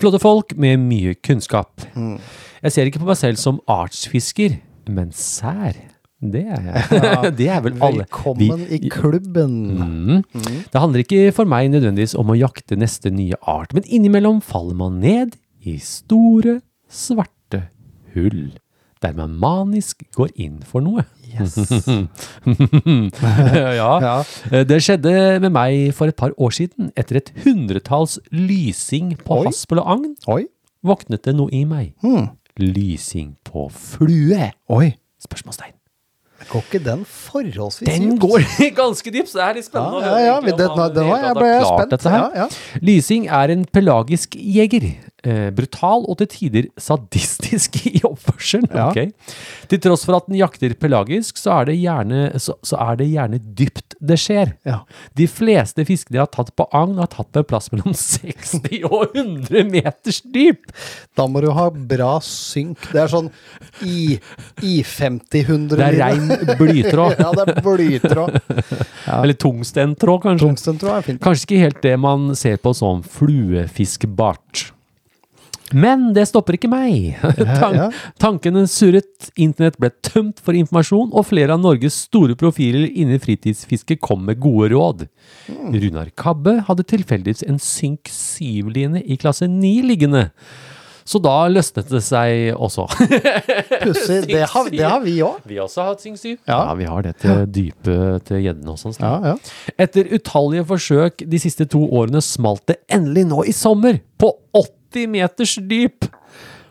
[SPEAKER 1] Flotte folk med mye kunnskap.
[SPEAKER 5] Mm.
[SPEAKER 1] Jeg ser ikke på meg selv som artsfisker, men sær. Det er jeg. det er vel alle.
[SPEAKER 5] Velkommen
[SPEAKER 1] Vi-
[SPEAKER 5] i klubben.
[SPEAKER 1] Mm. Det handler ikke for meg nødvendigvis om å jakte neste nye art, men innimellom faller man ned i store, svarte hull, der man manisk går inn for noe. ja. Eh,
[SPEAKER 5] Ja.
[SPEAKER 1] Det skjedde med meg for et par år siden, etter et hundretalls lysing på
[SPEAKER 5] Oi.
[SPEAKER 1] haspel og agn,
[SPEAKER 5] Oi.
[SPEAKER 1] våknet det noe i meg.
[SPEAKER 5] Mm.
[SPEAKER 1] Lysing på flue?
[SPEAKER 5] Oi.
[SPEAKER 1] Spørsmålstegn.
[SPEAKER 5] Går ikke den forholdsvis
[SPEAKER 1] Den
[SPEAKER 5] dypt?
[SPEAKER 1] går ganske dypt, så det er litt
[SPEAKER 5] Ja,
[SPEAKER 1] spennende
[SPEAKER 5] ja, ja.
[SPEAKER 1] å høre.
[SPEAKER 5] Den, den, den var, jeg ble spent.
[SPEAKER 1] Dette her.
[SPEAKER 5] Ja, ja.
[SPEAKER 1] Lysing er en pelagisk jeger, eh, brutal og til tider sadistisk i oppførselen.
[SPEAKER 5] Ja.
[SPEAKER 1] ok? Til tross for at den jakter pelagisk, så er det gjerne, så, så er det gjerne dypt det skjer.
[SPEAKER 5] Ja.
[SPEAKER 1] De fleste fiskene de har tatt på agn, har tatt med plass mellom 60 og 100 meters dyp.
[SPEAKER 5] Da må du ha bra synk. Det er sånn I, I50-100
[SPEAKER 1] Det er rein blytråd.
[SPEAKER 5] ja, det er blytråd.
[SPEAKER 1] Eller tungstentråd, kanskje.
[SPEAKER 5] Tungstentråd er fint.
[SPEAKER 1] Kanskje ikke helt det man ser på som fluefiskbart. Men det stopper ikke meg. Tan
[SPEAKER 5] ja.
[SPEAKER 1] Tankene surret, internett ble tømt for informasjon, og flere av Norges store profiler innen fritidsfiske kom med gode råd.
[SPEAKER 5] Hmm.
[SPEAKER 1] Runar Kabbe hadde tilfeldigvis en Synk 7-line i klasse 9 liggende, så da løsnet det seg også.
[SPEAKER 5] Pussig. Det, har- det har vi òg.
[SPEAKER 1] Vi har også hatt Synk 7. Ja.
[SPEAKER 5] Ja.
[SPEAKER 1] vi har det til dype til gjeddene og sånn.
[SPEAKER 5] Ja, ja.
[SPEAKER 1] Etter utallige forsøk de siste to årene smalt det endelig nå i sommer, på 80 meters dyp!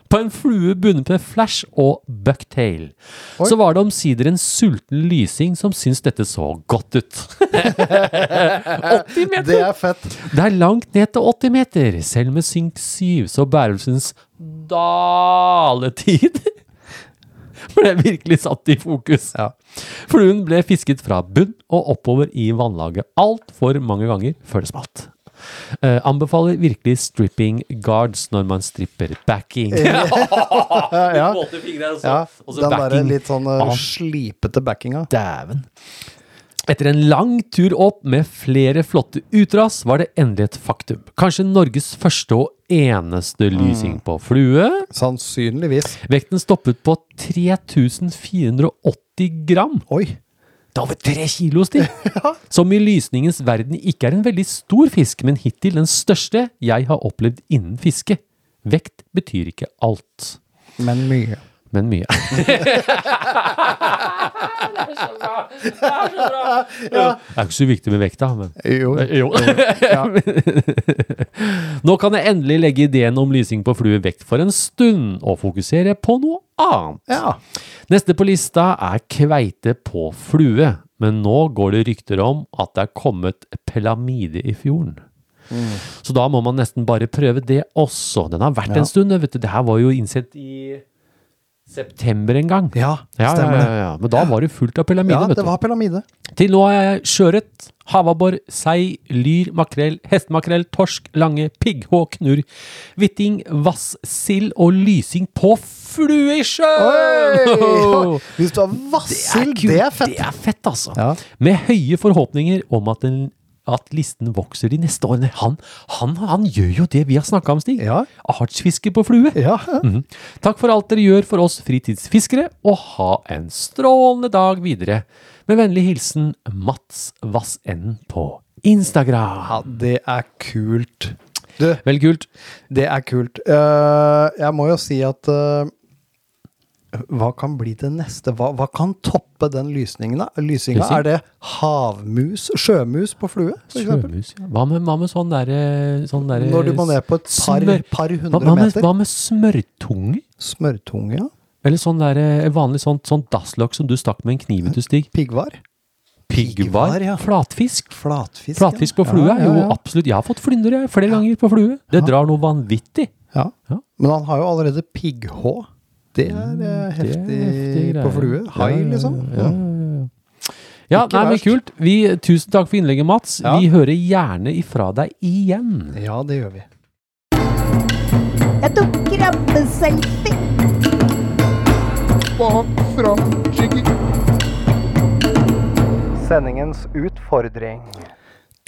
[SPEAKER 1] På en flue bundet med flash og bucktail. Så var det omsider en sulten lysing som syntes dette så godt ut. 80 meter!
[SPEAKER 5] Det er fett.
[SPEAKER 1] Det er langt ned til 80 meter. Selv med synk 7 så bærelsens daletid ble virkelig satt i fokus.
[SPEAKER 5] Ja.
[SPEAKER 1] Fluen ble fisket fra bunn og oppover i vannlaget altfor mange ganger før det smalt. Eh, anbefaler virkelig stripping guards når man stripper backing.
[SPEAKER 5] Ja, ja.
[SPEAKER 1] Våte fingre, altså.
[SPEAKER 5] Ja,
[SPEAKER 1] Og så
[SPEAKER 5] den derre
[SPEAKER 1] backing.
[SPEAKER 5] litt sånn eh,
[SPEAKER 1] Ah.
[SPEAKER 5] slipete backinga.
[SPEAKER 1] Dæven. Etter en lang tur opp med flere flotte utras var det endelig et faktum. Kanskje Norges første og eneste lysing på flue.
[SPEAKER 5] Sannsynligvis.
[SPEAKER 1] Vekten stoppet på 3480 gram.
[SPEAKER 5] Oi.
[SPEAKER 1] Det er over tre kilo, Stig! Som i lysningens verden ikke er en veldig stor fisk, men hittil den største jeg har opplevd innen fiske. Vekt betyr ikke alt,
[SPEAKER 5] Men mye.
[SPEAKER 1] men mye. Det er ikke så viktig med vekta, men
[SPEAKER 5] Jo.
[SPEAKER 1] Jo. Nå kan jeg endelig legge ideen om lysing på flue vekt for en stund, og fokusere på noe annet.
[SPEAKER 5] Ja.
[SPEAKER 1] Neste på lista er kveite på flue, men nå går det rykter om at det er kommet pelamide i fjorden.
[SPEAKER 5] Mm.
[SPEAKER 1] Så da må man nesten bare prøve det også. Den har vært en stund, vet du. Det her var jo innsett i september en gang.
[SPEAKER 5] ja,
[SPEAKER 1] Ja, ja,
[SPEAKER 5] stemmer
[SPEAKER 1] ja,
[SPEAKER 5] det.
[SPEAKER 1] ja. Men da var det fullt av pelamide,
[SPEAKER 5] Ja,
[SPEAKER 1] vet
[SPEAKER 5] det
[SPEAKER 1] du.
[SPEAKER 5] var pelamide.
[SPEAKER 1] Til nå har jeg sjøørret, havabbor, sei, lyr, makrell, hestemakrell, torsk, lange, pigghå, knurr, hvitting, vassild og lysing på flue i sjøen!
[SPEAKER 5] Oi! Hvis du har vassild,
[SPEAKER 1] kult.
[SPEAKER 5] det er fett.
[SPEAKER 1] Det er fett, altså.
[SPEAKER 5] Ja.
[SPEAKER 1] Med høye forhåpninger om at, den, at listen vokser de neste årene. Han, han, han gjør jo det vi har snakka om, Stig.
[SPEAKER 5] Ja.
[SPEAKER 1] Artsfiske på flue.
[SPEAKER 5] Ja.
[SPEAKER 1] Mhm. Takk for alt dere gjør for oss fritidsfiskere, og ha en strålende dag videre. Med vennlig hilsen Mats Vassenden på Instagram.
[SPEAKER 5] ja, det er kult. Du,
[SPEAKER 1] Veldig kult.
[SPEAKER 5] det er kult. Eh, jeg må jo si at eh, hva kan bli det neste? Hva, hva kan toppe den lysningen? da? Lysinga?
[SPEAKER 1] Lysing?
[SPEAKER 5] Er det havmus? Sjømus på flue? For eksempel?
[SPEAKER 1] Sjømus. ja. Hva med, hva med sånn derre sånn der,
[SPEAKER 5] Når du må ned på et par,
[SPEAKER 1] smør-
[SPEAKER 5] par
[SPEAKER 1] hva,
[SPEAKER 5] hundre
[SPEAKER 1] hva, med,
[SPEAKER 5] meter?
[SPEAKER 1] hva med smørtunge?
[SPEAKER 5] Smørtunge? ja.
[SPEAKER 1] Eller sånn der, eh, vanlig sånn, sånn dasslokk som du stakk med en kniv ut til stig.
[SPEAKER 5] Piggvar?
[SPEAKER 1] Piggvar.
[SPEAKER 5] Piggvar, ja.
[SPEAKER 1] Flatfisk.
[SPEAKER 5] Flatfisk? ja.
[SPEAKER 1] Flatfisk på flue er
[SPEAKER 5] Ja, ja,
[SPEAKER 1] jo
[SPEAKER 5] ja.
[SPEAKER 1] absolutt Jeg har fått flynder jeg, flere ganger på flue. Det drar noe vanvittig.
[SPEAKER 5] Ja.
[SPEAKER 1] Ja.
[SPEAKER 5] Men han har jo allerede pigghå. Det er eh,
[SPEAKER 1] Det er
[SPEAKER 5] heftig
[SPEAKER 1] heftige
[SPEAKER 5] på
[SPEAKER 1] greier.
[SPEAKER 5] flue. Hai,
[SPEAKER 1] Ja, ja,
[SPEAKER 5] liksom.
[SPEAKER 1] Ja, ja, ja. ja
[SPEAKER 5] Ikke
[SPEAKER 1] nei, men
[SPEAKER 5] verst.
[SPEAKER 1] kult. Vi, tusen takk for innlegget, Mats.
[SPEAKER 5] Ja.
[SPEAKER 1] Vi hører gjerne ifra deg igjen.
[SPEAKER 5] Ja. ja, det gjør vi.
[SPEAKER 7] Jeg tok krabbeselfie.
[SPEAKER 4] Sendingens utfordring.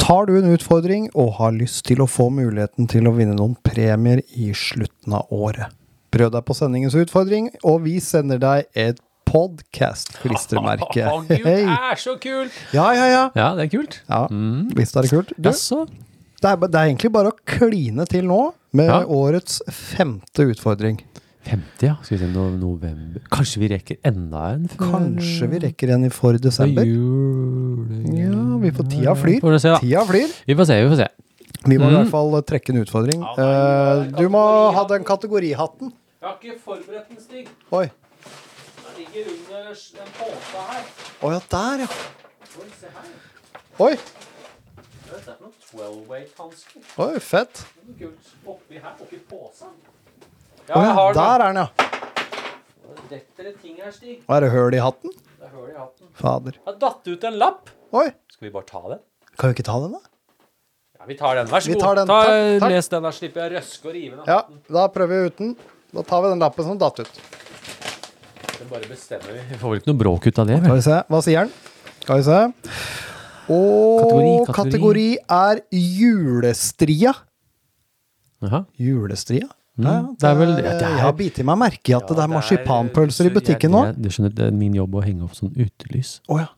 [SPEAKER 5] Tar du en utfordring og har lyst til å få muligheten til å vinne noen premier i slutten av året? Prøv deg på sendingens utfordring, og vi sender deg et podcast-klistremerke. Hei!
[SPEAKER 1] er så kult!
[SPEAKER 5] Ja, ja, ja.
[SPEAKER 1] Ja, det er kult.
[SPEAKER 5] ja. Visst er det kult. Du,
[SPEAKER 1] Jaså?
[SPEAKER 5] det, er, ba- det er egentlig bare å kline til nå med
[SPEAKER 1] Ja.
[SPEAKER 5] årets femte utfordring.
[SPEAKER 1] 50, ja. Skal vi se no november Kanskje vi rekker enda en før
[SPEAKER 5] Kanskje vi rekker en i for
[SPEAKER 1] før
[SPEAKER 5] desember?
[SPEAKER 1] jul?
[SPEAKER 5] Ja, vi får tida flyr.
[SPEAKER 1] Får vi se, da.
[SPEAKER 5] Tida flyr.
[SPEAKER 1] Vi får se, vi får se.
[SPEAKER 5] Vi må i
[SPEAKER 1] Mm.
[SPEAKER 5] hvert fall trekke en utfordring. Eh, Du må ha den kategorihatten.
[SPEAKER 1] Jeg har ikke forberedt en stig.
[SPEAKER 5] Oi.
[SPEAKER 1] Den ligger under en pose her.
[SPEAKER 5] Å ja, der, ja. Oi.
[SPEAKER 1] Dette er for noe 12-weight-hanske.
[SPEAKER 5] Oi, fett.
[SPEAKER 1] Noe kult oppi her, oppi posen.
[SPEAKER 5] Å
[SPEAKER 1] Ja, jeg
[SPEAKER 5] ja,
[SPEAKER 1] har den.
[SPEAKER 5] der er den, ja.
[SPEAKER 1] Detter det ting her, Stig?
[SPEAKER 5] Og er det høl i hatten?
[SPEAKER 1] Det er hull i hatten.
[SPEAKER 5] Fader.
[SPEAKER 1] Har datt ut en lapp.
[SPEAKER 5] Oi,
[SPEAKER 1] Skal vi bare ta den?
[SPEAKER 5] kan vi ikke ta den, da?
[SPEAKER 1] Ja, vi tar den. Vær så
[SPEAKER 5] Vi
[SPEAKER 1] god.
[SPEAKER 5] tar den.
[SPEAKER 1] Ta,
[SPEAKER 5] Takk, takk.
[SPEAKER 1] Les den der, slipper jeg å røske og rive den.
[SPEAKER 5] Ja, da prøver vi uten. Da tar vi den lappen som datt ut.
[SPEAKER 1] Det bare bestemmer vi. Vi får vel ikke noe bråk ut av det?
[SPEAKER 5] Skal vi se, hva sier den? Skal vi se. Og
[SPEAKER 1] Kategori,
[SPEAKER 5] kategori,
[SPEAKER 1] kategori.
[SPEAKER 5] er julestria. Julestria? Ja, ja,
[SPEAKER 1] Mm. det er vel- ja, det er-
[SPEAKER 5] Jeg har bitt meg merke i at det er marsipanpølser i butikken nå.
[SPEAKER 1] Du skjønner, Det er min jobb å henge opp sånn utelys.
[SPEAKER 5] Å ja.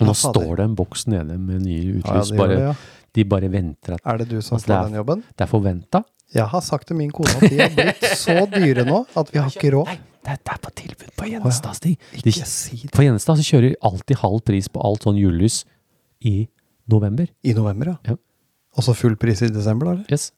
[SPEAKER 1] Og nå
[SPEAKER 5] Ja, fader.
[SPEAKER 1] står det en boks nede med nye
[SPEAKER 5] Ja,
[SPEAKER 1] utelys.
[SPEAKER 5] det gjør
[SPEAKER 1] bare,
[SPEAKER 5] det, ja.
[SPEAKER 1] De bare venter at
[SPEAKER 5] Er det du som
[SPEAKER 1] Altså, det
[SPEAKER 5] får
[SPEAKER 1] er-
[SPEAKER 5] den jobben?
[SPEAKER 1] Det er forventa.
[SPEAKER 5] Jeg har sagt til min kone at de har blitt så dyre nå at vi har ikke råd.
[SPEAKER 1] Nei, det er, det er på tilbud på Gjenstad, Stig. De,
[SPEAKER 5] Ikke si det.
[SPEAKER 1] på Gjenstad så kjører de alltid halv pris på alt sånn julelys i november.
[SPEAKER 5] I november,
[SPEAKER 1] Ja.
[SPEAKER 5] ja. Og så full pris i desember, da? eller?
[SPEAKER 1] Yes.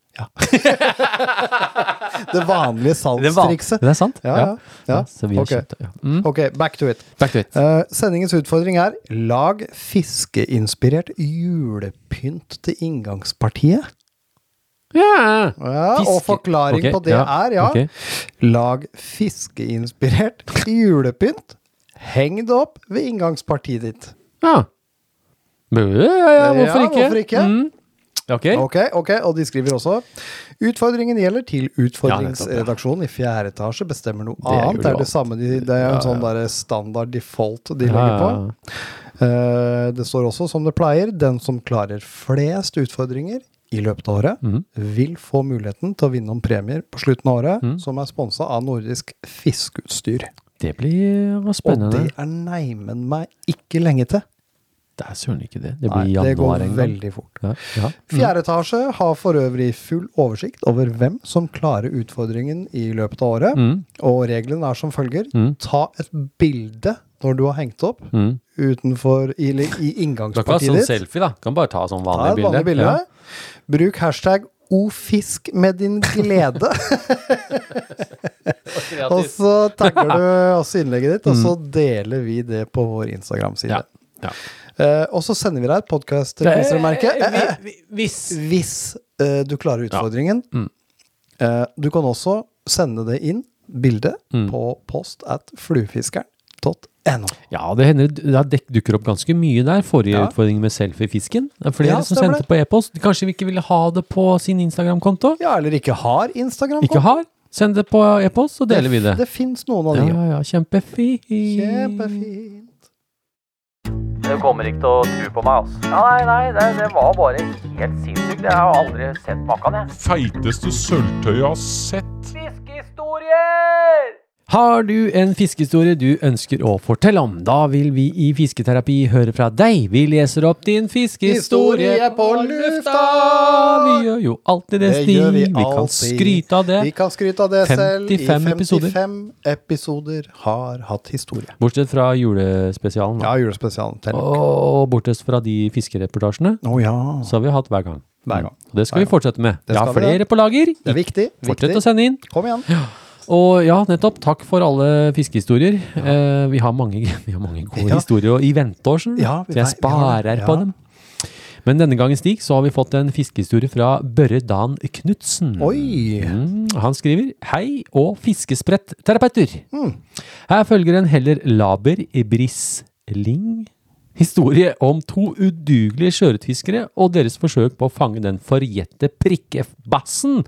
[SPEAKER 5] Det vanlige salgstrikset.
[SPEAKER 1] Det er sant.
[SPEAKER 5] Ja, ja, ja.
[SPEAKER 1] Så vi har
[SPEAKER 5] Ok.
[SPEAKER 1] kjøpt det. Ja. Mm.
[SPEAKER 5] Ok, back to it.
[SPEAKER 1] Back to it.
[SPEAKER 5] Eh, sendingens utfordring er lag fiskeinspirert julepynt til inngangspartiet.
[SPEAKER 1] Ja.
[SPEAKER 5] Ja, og
[SPEAKER 1] Fiske-
[SPEAKER 5] forklaring
[SPEAKER 1] Ok,
[SPEAKER 5] på det
[SPEAKER 1] ja,
[SPEAKER 5] er, ja.
[SPEAKER 1] ok.
[SPEAKER 5] Lag fiskeinspirert julepynt. Heng det opp ved inngangspartiet ditt.
[SPEAKER 1] Ja. Bø, ja, ja, hvorfor
[SPEAKER 5] Ja,
[SPEAKER 1] ikke?
[SPEAKER 5] hvorfor ikke?
[SPEAKER 1] Mm. Ok.
[SPEAKER 5] Ok, ok, og de skriver også Utfordringen gjelder til utfordringsredaksjonen i fjerde etasje bestemmer noe
[SPEAKER 1] Det gjør du
[SPEAKER 5] annet. Det er det
[SPEAKER 1] alltid.
[SPEAKER 5] samme, de, det er jo en sånn der standard default de
[SPEAKER 1] Ja,
[SPEAKER 5] legger på.
[SPEAKER 1] ja, ja.
[SPEAKER 5] Eh, det står også som det pleier, den som klarer flest utfordringer i løpet av året,
[SPEAKER 1] Mhm.
[SPEAKER 5] vil få muligheten til å vinne om premier på slutten av året,
[SPEAKER 1] Mhm.
[SPEAKER 5] som er sponsa av nordisk fiskeutstyr.
[SPEAKER 1] Det blir eh,
[SPEAKER 5] Og
[SPEAKER 1] spennende.
[SPEAKER 5] det
[SPEAKER 1] Det,
[SPEAKER 5] er neimen meg ikke lenge til.
[SPEAKER 1] er søren ikke det. Det blir
[SPEAKER 5] Nei, det
[SPEAKER 1] januar
[SPEAKER 5] går
[SPEAKER 1] en gang.
[SPEAKER 5] veldig fort.
[SPEAKER 1] Ja, ja.
[SPEAKER 5] Fjerde etasje har for øvrig full oversikt over hvem som klarer utfordringen i løpet av
[SPEAKER 1] Mm.
[SPEAKER 5] året. Og reglene er som følger. Ta et bilde når du har hengt opp
[SPEAKER 1] mm.
[SPEAKER 5] utenfor, eller
[SPEAKER 1] Du
[SPEAKER 5] i
[SPEAKER 1] kan ikke ha
[SPEAKER 5] inngangspartiet
[SPEAKER 1] sånn
[SPEAKER 5] ditt.
[SPEAKER 1] selfie, da. Kan bare ta sånn
[SPEAKER 5] Ta
[SPEAKER 1] vanlig
[SPEAKER 5] et
[SPEAKER 1] bilde.
[SPEAKER 5] vanlig bilde. Bruk hashtag ofisk med din glede.
[SPEAKER 1] Ja.
[SPEAKER 5] og så tagger du også innlegget ditt, og så deler vi det på vår Instagram-side.
[SPEAKER 1] Mm. Ja. Ja.
[SPEAKER 5] Eh, og så sender vi deg et podkast-klistremerke. Eh, eh,
[SPEAKER 1] Hvis
[SPEAKER 5] Hvis eh, du klarer utfordringen.
[SPEAKER 1] Mm.
[SPEAKER 5] eh, du kan også sende det inn, bildet,
[SPEAKER 1] Mm.
[SPEAKER 5] på post at fluefiskeren.no.
[SPEAKER 1] Ja, det hender det dek- dukker opp ganske mye der. Forrige
[SPEAKER 5] Ja.
[SPEAKER 1] utfordring med selfiefisken. Det er Flere
[SPEAKER 5] Ja,
[SPEAKER 1] som
[SPEAKER 5] stemmer
[SPEAKER 1] sendte på e-post. Kanskje vi ikke ville ha det på sin Instagram-konto?
[SPEAKER 5] Ja, eller ikke har
[SPEAKER 1] Ikke
[SPEAKER 5] Instagram-konto.
[SPEAKER 1] har? Send det på e-post, så deler vi det.
[SPEAKER 5] Det fins noen av
[SPEAKER 1] Ja,
[SPEAKER 5] de.
[SPEAKER 1] ja, ja. Kjempefint.
[SPEAKER 5] Kjempefint.
[SPEAKER 2] Du kommer ikke til å tro på meg, altså. Nei, nei, det, det var bare helt sinnssykt. Jeg har aldri sett maken, jeg.
[SPEAKER 3] Feiteste sølvtøyet jeg har sett.
[SPEAKER 2] Fiskehistorier!
[SPEAKER 1] Har du en fiskehistorie du ønsker å fortelle om? Da vil vi i Fisketerapi høre fra deg. Vi leser opp din fiskehistorie
[SPEAKER 5] Historie på lufta!
[SPEAKER 1] Vi gjør jo alltid det,
[SPEAKER 5] Det
[SPEAKER 1] Stig.
[SPEAKER 5] gjør vi
[SPEAKER 1] Vi kan
[SPEAKER 5] alltid.
[SPEAKER 1] skryte av det.
[SPEAKER 5] Vi kan skryte av det selv. I
[SPEAKER 1] 55 episoder.
[SPEAKER 5] 55 episoder har hatt historie.
[SPEAKER 1] Bortsett fra julespesialen. da.
[SPEAKER 5] Ja, julespesialen. Å
[SPEAKER 1] Og bortsett fra de fiskereportasjene,
[SPEAKER 5] oh, ja.
[SPEAKER 1] så har vi hatt hver gang.
[SPEAKER 5] Hver gang.
[SPEAKER 1] Og det skal vi fortsette med.
[SPEAKER 5] Det
[SPEAKER 1] Vi har
[SPEAKER 5] skal vi det.
[SPEAKER 1] flere på lager.
[SPEAKER 5] Det er viktig.
[SPEAKER 1] Fortsett
[SPEAKER 5] viktig.
[SPEAKER 1] å sende inn.
[SPEAKER 5] Kom igjen.
[SPEAKER 1] Og ja, nettopp. Takk for alle fiskehistorier. Eh, vi, har mange, vi har mange gode
[SPEAKER 5] Ja.
[SPEAKER 1] historier og i vente år, skjønner du.
[SPEAKER 5] Ja, vi-
[SPEAKER 1] så jeg
[SPEAKER 5] vi har
[SPEAKER 1] sparer
[SPEAKER 5] det.
[SPEAKER 1] på
[SPEAKER 5] Ja.
[SPEAKER 1] dem. Men denne gangen, Stig, så har vi fått en fiskehistorie fra Børre Dan Knutsen.
[SPEAKER 5] Oi!
[SPEAKER 1] Mm, han skriver 'Hei og fiskespretterapeuter'.
[SPEAKER 5] Mm.
[SPEAKER 1] Her følger en heller laber i brisling historie om to udugelige sjøørretfiskere og deres forsøk på å fange den forjette prikkebassen.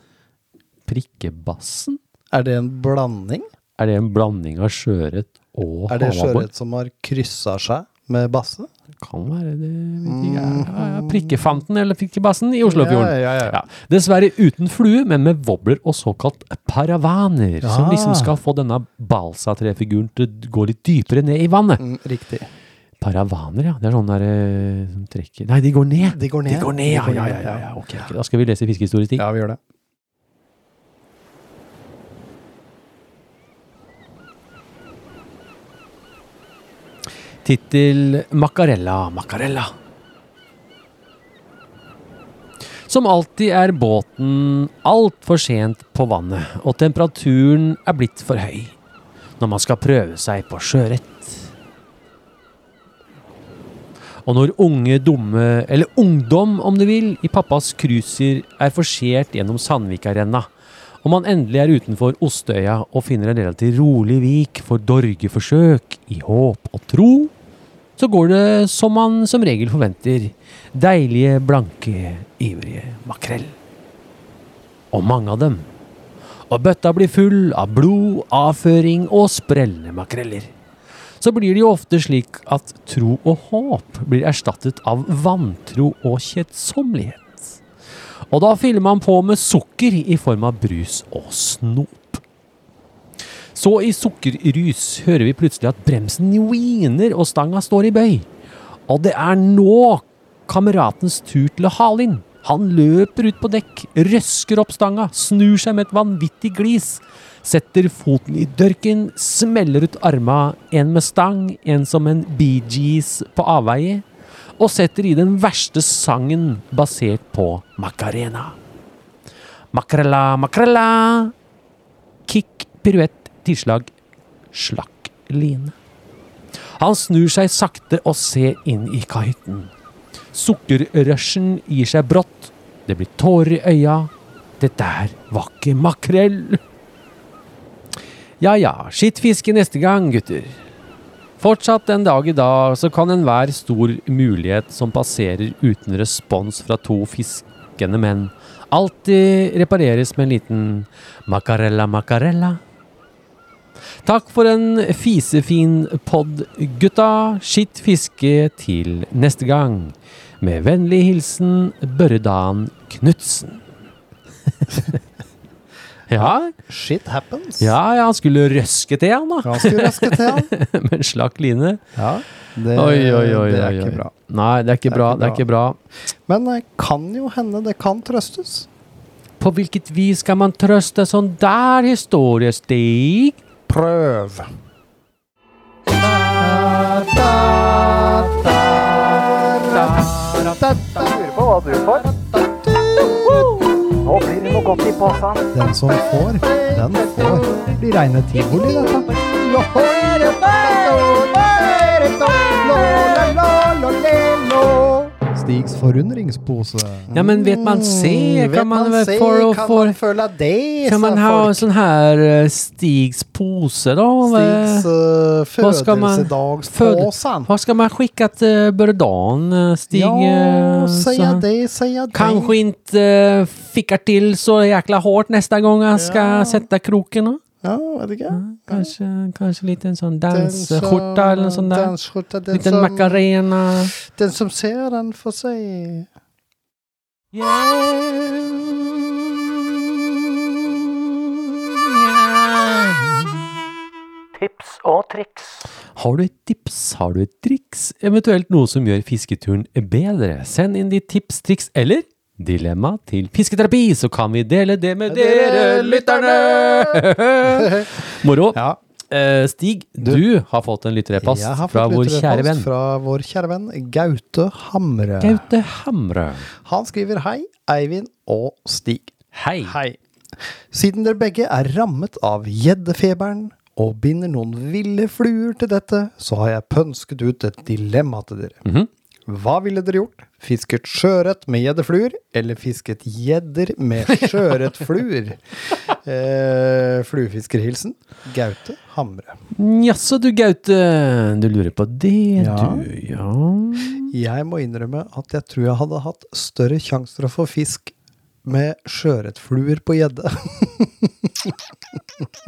[SPEAKER 1] Prikkebassen?
[SPEAKER 5] Er det en blanding?
[SPEAKER 1] Er det en blanding av sjøørret og
[SPEAKER 5] Er det
[SPEAKER 1] havabbor?
[SPEAKER 5] sjøørret som har kryssa seg med basse?
[SPEAKER 1] Kan være det. Vet ikke, jeg. ja, ja, prikkefanten eller prikkebassen i Oslofjorden.
[SPEAKER 5] Mm. Ja, ja, ja.
[SPEAKER 1] Dessverre uten flue, men med wobbler og såkalt paravaner, som
[SPEAKER 5] Ja.
[SPEAKER 1] liksom skal få denne balsatrefiguren til å gå litt dypere ned i vannet.
[SPEAKER 5] Mm, riktig.
[SPEAKER 1] Paravaner, ja. Det er sånne der eh, som trekker Nei, de går ned!
[SPEAKER 5] De går ned.
[SPEAKER 1] De går ned, ja, ja, ja, ja, ja. Ok, ok. Da skal vi lese fiskehistorisk ting.
[SPEAKER 5] Ja, vi gjør det.
[SPEAKER 1] Tittel Macarella, Macarella. Som alltid er båten altfor sent på vannet, og temperaturen er blitt for høy når man skal prøve seg på sjøørret. Og når unge dumme, eller ungdom om du vil, i pappas cruiser er forsert gjennom Sandvikarenna, og man endelig er utenfor Ostøya og finner en relativt rolig vik for dorgeforsøk i håp og tro, så går det som man som regel forventer. Deilige, blanke, ivrige makrell. Og mange av dem. Og bøtta blir full av blod, avføring og sprellende makreller. Så blir det jo ofte slik at tro og håp blir erstattet av vantro og kjedsommelighet. Og da fyller man på med sukker i form av brus og snop. Så i sukkerrus hører vi plutselig at bremsen hviner og stanga står i bøy. Og det er nå kameratens tur til å hale inn. Han løper ut på dekk, røsker opp stanga, snur seg med et vanvittig glis. Setter foten i dørken, smeller ut arma, en med stang, en som en Bee Gees på avveie. Og setter i den verste sangen basert på Macarena. Makrella, makrella. Kick, piruett, tilslag, slakk, line. Han snur seg sakte og ser inn i kahytten. Sukkerrushen gir seg brått. Det blir tårer i øya. Det der var ikke makrell. Ja ja, skittfiske neste gang, gutter. Fortsatt en dag i dag så kan enhver stor mulighet som passerer uten respons fra to fiskende menn, alltid repareres med en liten macarella macarella. Takk for en fisefin podd, gutta. Skitt fiske til neste gang. Med vennlig hilsen Børre Dan Knutsen. ja,
[SPEAKER 5] Shit happens.
[SPEAKER 1] ja, ja, han skulle røske til, han da.
[SPEAKER 5] Ganske raske til, han.
[SPEAKER 1] Med en slakk line.
[SPEAKER 5] Ja, det,
[SPEAKER 1] Oi, oi, oi.
[SPEAKER 5] det er
[SPEAKER 1] oi, oi.
[SPEAKER 5] ikke bra.
[SPEAKER 1] Nei, det er ikke bra. Det er ikke bra.
[SPEAKER 5] Men det kan jo hende det kan trøstes.
[SPEAKER 1] På hvilket vis skal man trøste sånn der, historiestig?
[SPEAKER 5] Prøv.
[SPEAKER 4] Lurer på hva du får. Nå blir det noe godt i posen.
[SPEAKER 5] Den som får, den får. Det blir reine tivoli, dette. Stigs forundringspose.
[SPEAKER 1] Ja, men vet man se,
[SPEAKER 5] Mm,
[SPEAKER 1] kan man vel
[SPEAKER 5] se,
[SPEAKER 1] for å
[SPEAKER 5] kan
[SPEAKER 1] for-
[SPEAKER 5] man føle det,
[SPEAKER 1] Kan
[SPEAKER 5] sa
[SPEAKER 1] man ha
[SPEAKER 5] folk.
[SPEAKER 1] sånn her eh, Stigs pose, da?
[SPEAKER 5] Stigs uh,
[SPEAKER 1] eh, Hva skal man-
[SPEAKER 5] fødelsedagsposen.
[SPEAKER 1] Hva skal man skicka till Burdan, eh, Stig? eh,
[SPEAKER 5] Ja, säga
[SPEAKER 1] så-
[SPEAKER 5] det, säga det.
[SPEAKER 1] Kanske inte eh, fickar till så jäkla hårt nästa gång jag ska
[SPEAKER 5] Ja.
[SPEAKER 1] sätta kroken. va?
[SPEAKER 5] Ja, vet ikke.
[SPEAKER 1] Kanske, kanske lite en sån
[SPEAKER 5] Den som-
[SPEAKER 1] dansskjorta eller en sån där.
[SPEAKER 5] Dansskjorta. Den,
[SPEAKER 1] Liten
[SPEAKER 5] som,
[SPEAKER 1] macarena.
[SPEAKER 5] den som ser den, får se.
[SPEAKER 2] Tips og triks.
[SPEAKER 1] Har du et tips, har du et triks, eventuelt noe som gjør fisketuren bedre? Send inn ditt tips, triks eller dilemma til Fisketerapi, så kan vi dele det med dere lytterne! Moro.
[SPEAKER 5] Ja,
[SPEAKER 1] Eh, Stig, du, har fått en lytterrepost
[SPEAKER 5] jeg har
[SPEAKER 1] fra
[SPEAKER 5] fått
[SPEAKER 1] vår
[SPEAKER 5] litt
[SPEAKER 1] kjære
[SPEAKER 5] repost
[SPEAKER 1] venn
[SPEAKER 5] Fra vår kjære venn Gaute Hamre.
[SPEAKER 1] Gaute Hamre.
[SPEAKER 5] Han skriver hei, Eivind og Stig.
[SPEAKER 1] Hei.
[SPEAKER 5] Hei. Siden dere begge er rammet av gjeddefeberen og binder noen ville fluer til dette, så har jeg pønsket ut et dilemma til dere.
[SPEAKER 1] Mhm.
[SPEAKER 5] Hva ville dere gjort? Fisket sjøørret med gjeddefluer, eller fisket gjedder med sjøørretfluer? eh, fluefiskerhilsen Gaute Hamre.
[SPEAKER 1] Jaså du, Gaute. Du lurer på det,
[SPEAKER 5] Ja.
[SPEAKER 1] du. Ja.
[SPEAKER 5] Jeg må innrømme at jeg tror jeg hadde hatt større sjanser å få fisk med sjøørretfluer på gjedde.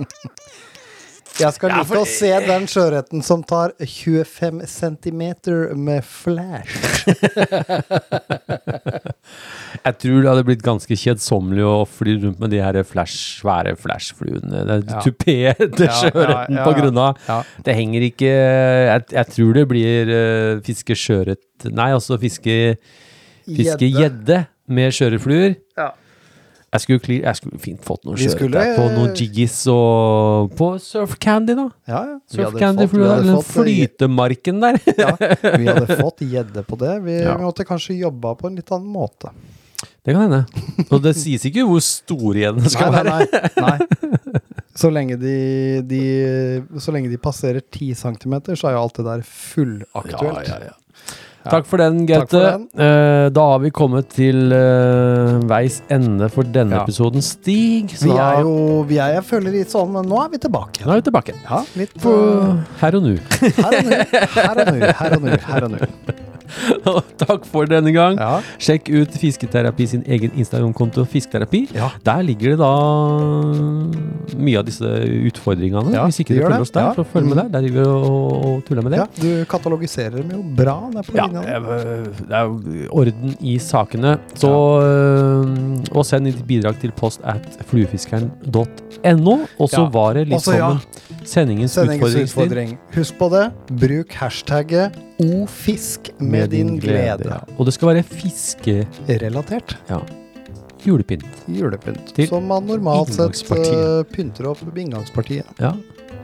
[SPEAKER 5] Jeg skal like å se den sjøørreten som tar 25 cm med flash.
[SPEAKER 1] Jeg tror det hadde blitt ganske kjedsommelig å fly rundt med de her flash, svære flashfluene. Det er
[SPEAKER 5] Ja.
[SPEAKER 1] tupé til
[SPEAKER 5] Ja, ja,
[SPEAKER 1] sjøørreten
[SPEAKER 5] ja,
[SPEAKER 1] på
[SPEAKER 5] ja.
[SPEAKER 1] grunn av
[SPEAKER 5] Ja.
[SPEAKER 1] Det henger ikke Jeg, jeg tror det blir eh, fiske sjøørret Nei, altså fiske Fiske gjedde med sjøørretfluer.
[SPEAKER 5] Ja.
[SPEAKER 1] Jeg skulle, kli- jeg skulle fint fått noen
[SPEAKER 5] Vi
[SPEAKER 1] sjøørret
[SPEAKER 5] skulle-
[SPEAKER 1] der, på noen jiggis og på surf candy, da.
[SPEAKER 5] Ja, ja. Vi
[SPEAKER 1] Surf
[SPEAKER 5] hadde
[SPEAKER 1] candy
[SPEAKER 5] fått- vi hadde
[SPEAKER 1] Den
[SPEAKER 5] fått-
[SPEAKER 1] flytemarken der.
[SPEAKER 5] Ja, vi hadde fått gjedde på det. Vi
[SPEAKER 1] Ja.
[SPEAKER 5] måtte kanskje jobba på en litt annen måte.
[SPEAKER 1] Det kan hende. Og det sies ikke hvor store gjeddene skal
[SPEAKER 5] Nei,
[SPEAKER 1] være.
[SPEAKER 5] nei, nei, nei. Så lenge de, de, så lenge de passerer 10 cm, så er jo alt det der fullaktuelt.
[SPEAKER 1] Ja, ja, ja. Takk for den,
[SPEAKER 5] Takk for
[SPEAKER 1] Gaute. Eh, da har vi kommet til eh, veis ende for denne
[SPEAKER 5] Ja.
[SPEAKER 1] episoden, Stig. Så
[SPEAKER 5] Vi
[SPEAKER 1] da
[SPEAKER 5] er jo vi er, Jeg føler litt sånn, men nå er vi tilbake.
[SPEAKER 1] Nå er vi tilbake.
[SPEAKER 5] Ja, litt
[SPEAKER 1] På
[SPEAKER 5] eh,
[SPEAKER 1] her og nå.
[SPEAKER 5] her og nå, her og nå, her og nå. Her og nå.
[SPEAKER 1] Takk for denne gang.
[SPEAKER 5] Ja.
[SPEAKER 1] Sjekk ut Fisketerapi sin egen Instagram-konto Fisketerapi.
[SPEAKER 5] Ja.
[SPEAKER 1] Der ligger det da mye av disse utfordringene.
[SPEAKER 5] Ja,
[SPEAKER 1] Hvis ikke
[SPEAKER 5] det
[SPEAKER 1] dere følger
[SPEAKER 5] gjør det.
[SPEAKER 1] oss der,
[SPEAKER 5] Ja. Mm.
[SPEAKER 1] så følg med der. Der ligger vi og, og tuller med det.
[SPEAKER 5] ja, du katalogiserer dem jo bra. Det er på
[SPEAKER 1] Ja,
[SPEAKER 5] linja.
[SPEAKER 1] eh, det er jo orden i sakene. Så, eh, og send ditt bidrag til post at fluefiskeren.no. Og så
[SPEAKER 5] Ja.
[SPEAKER 1] var det litt
[SPEAKER 5] Også, ja.
[SPEAKER 1] som en sendingens,
[SPEAKER 5] Sendingens
[SPEAKER 1] utfordring. Stig.
[SPEAKER 5] utfordring. Husk på det. Bruk hashtagget ofisk med din glede.
[SPEAKER 1] ja. Og det skal være fiske
[SPEAKER 5] Relatert
[SPEAKER 1] julepynt.
[SPEAKER 5] julepynt.
[SPEAKER 1] Til
[SPEAKER 5] Som man normalt sett
[SPEAKER 1] inngangspartiet.
[SPEAKER 5] eh, pynter opp ved inngangspartiet.
[SPEAKER 1] Ja.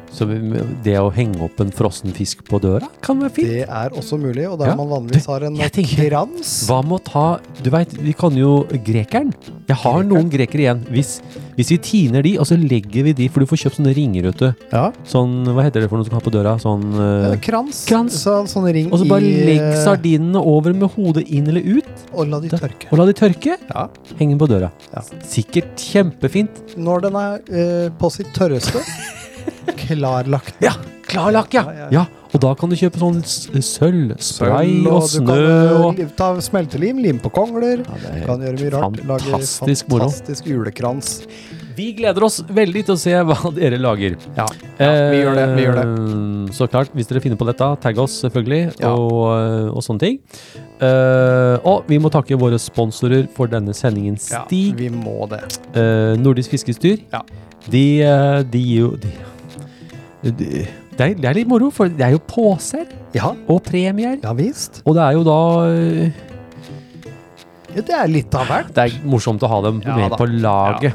[SPEAKER 1] Så vi, det å henge opp en frossen fisk på døra kan være fint.
[SPEAKER 5] Det er også mulig, og der
[SPEAKER 1] Ja.
[SPEAKER 5] man vanligvis har en
[SPEAKER 1] jeg tenker-
[SPEAKER 5] krans.
[SPEAKER 1] Hva med å ta Du veit, vi kan jo grekeren. Jeg har noen grekere igjen. Hvis, hvis vi tiner de, og så legger vi de For du får kjøpt sånne ringer, vet du.
[SPEAKER 5] Ja,
[SPEAKER 1] Sånn, hva heter det for noe som kan ha på døra? Sånn eh,
[SPEAKER 5] eh, krans.
[SPEAKER 1] krans.
[SPEAKER 5] Så, en sånn ring
[SPEAKER 1] Og så bare
[SPEAKER 5] i,
[SPEAKER 1] legg
[SPEAKER 5] eh,
[SPEAKER 1] sardinene over med hodet inn eller ut,
[SPEAKER 5] Og la de
[SPEAKER 1] Da-
[SPEAKER 5] tørke.
[SPEAKER 1] og la de tørke.
[SPEAKER 5] Ja.
[SPEAKER 1] Heng den på døra.
[SPEAKER 5] Ja.
[SPEAKER 1] Sikkert kjempefint.
[SPEAKER 5] Når den er eh, på sitt tørreste, klarlagt.
[SPEAKER 1] Ja, klarlakk, ja.
[SPEAKER 5] Ja, ja,
[SPEAKER 1] ja. Og da kan du kjøpe sånn s- sølv, spray
[SPEAKER 5] Sølv,
[SPEAKER 1] og
[SPEAKER 5] du
[SPEAKER 1] snø
[SPEAKER 5] kan, eh,
[SPEAKER 1] og
[SPEAKER 5] li- Ta smeltelim, lim på kongler.
[SPEAKER 1] ja, det
[SPEAKER 5] Kan
[SPEAKER 1] er-
[SPEAKER 5] gjøre mye rart. Lage
[SPEAKER 1] fantastisk moro.
[SPEAKER 5] fantastisk julekrans.
[SPEAKER 1] Vi gleder oss veldig til å se hva dere lager.
[SPEAKER 5] Ja, vi gjør det, vi gjør
[SPEAKER 1] Eh, Så klart, hvis dere finner på dette, tagg oss selvfølgelig,
[SPEAKER 5] Ja.
[SPEAKER 1] og, og sånne ting. Eh, og vi må takke våre sponsorer for denne sendingen,
[SPEAKER 5] Ja,
[SPEAKER 1] Stig.
[SPEAKER 5] vi må det.
[SPEAKER 1] Eh, nordisk fiskestyr.
[SPEAKER 5] Ja.
[SPEAKER 1] De, eh, de gir jo de, de, det, er, det er litt moro, for det er jo poser
[SPEAKER 5] Ja,
[SPEAKER 1] og premier.
[SPEAKER 5] ja visst.
[SPEAKER 1] Og det er jo da eh,
[SPEAKER 5] Ja, det er litt av hvert.
[SPEAKER 1] Det er morsomt å ha dem
[SPEAKER 5] Ja
[SPEAKER 1] med
[SPEAKER 5] da.
[SPEAKER 1] på laget.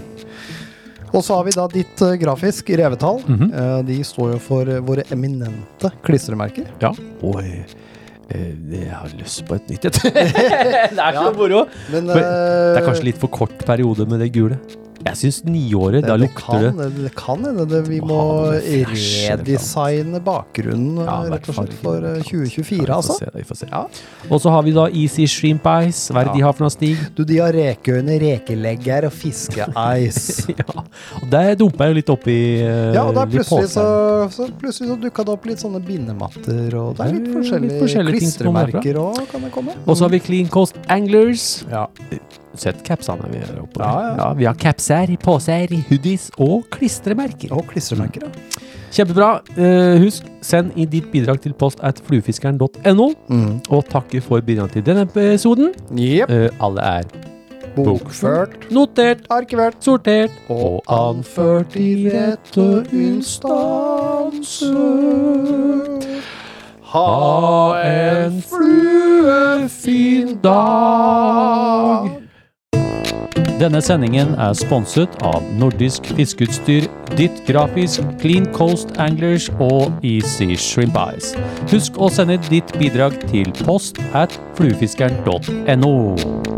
[SPEAKER 5] Og så har vi da ditt eh, grafisk revetall.
[SPEAKER 1] Mhm.
[SPEAKER 5] Eh, de står jo for eh, våre eminente klistremerker.
[SPEAKER 1] Ja. Oi. eh, Jeg har lyst på et nytt et. det er så moro.
[SPEAKER 5] Men,
[SPEAKER 1] Men
[SPEAKER 5] eh,
[SPEAKER 1] Det er kanskje litt for kort periode med det gule. Jeg syns niåret,
[SPEAKER 5] det- eh,
[SPEAKER 1] da
[SPEAKER 5] det
[SPEAKER 1] lukter det
[SPEAKER 5] kan- det. Det kan hende det- vi
[SPEAKER 1] Du må
[SPEAKER 5] må
[SPEAKER 1] ha noe freshere
[SPEAKER 5] redesigne bakgrunnen eh,
[SPEAKER 1] Ja, i hvert
[SPEAKER 5] rett og
[SPEAKER 1] fall
[SPEAKER 5] slett for eh,
[SPEAKER 1] litt Ja,
[SPEAKER 5] 2024,
[SPEAKER 1] vi får
[SPEAKER 5] altså.
[SPEAKER 1] se, vi får se.
[SPEAKER 5] Ja.
[SPEAKER 1] Og så har vi da Easy Shrimp Ice. Hva er det
[SPEAKER 5] Ja.
[SPEAKER 1] de har for noe, Stig?
[SPEAKER 5] Du, de har rekeøyne, rekelegger og fiskeeis.
[SPEAKER 1] Ja, og der dumpa jeg jo Eh, litt oppi uh,
[SPEAKER 5] Ja, og da plutselig så, så, plutselig så dukka det opp litt sånne bindematter, og det er litt
[SPEAKER 1] Ja,
[SPEAKER 5] forskjellige,
[SPEAKER 1] litt forskjellige ting som kommer derfra.
[SPEAKER 5] klistremerker òg, kan det komme.
[SPEAKER 1] Og så har vi Clean Coast Anglers.
[SPEAKER 5] Ja.
[SPEAKER 1] Sett capsene vi har oppe.
[SPEAKER 5] Ja, ja.
[SPEAKER 1] vi har capser, poser, hoodies og klistremerker.
[SPEAKER 5] Og klistremerker, ja.
[SPEAKER 1] Kjempebra. Eh, husk, send i ditt bidrag til post at fluefiskeren.no.
[SPEAKER 5] Mm.
[SPEAKER 1] Og takke for bidrag til denne episoden.
[SPEAKER 5] Jepp.
[SPEAKER 1] Eh, alle er
[SPEAKER 5] Bokført,
[SPEAKER 1] notert,
[SPEAKER 5] arkivert
[SPEAKER 1] sortert
[SPEAKER 5] og anført i rette instanser. Ha en
[SPEAKER 1] fluefin
[SPEAKER 5] dag!
[SPEAKER 1] Denne sendingen er sponset av Nordisk Fiskeutstyr, Ditt Grafisk, Clean Coast Anglers og Easy Shrimp Eyes. Husk å sende ditt bidrag til post at fluefiskeren.no.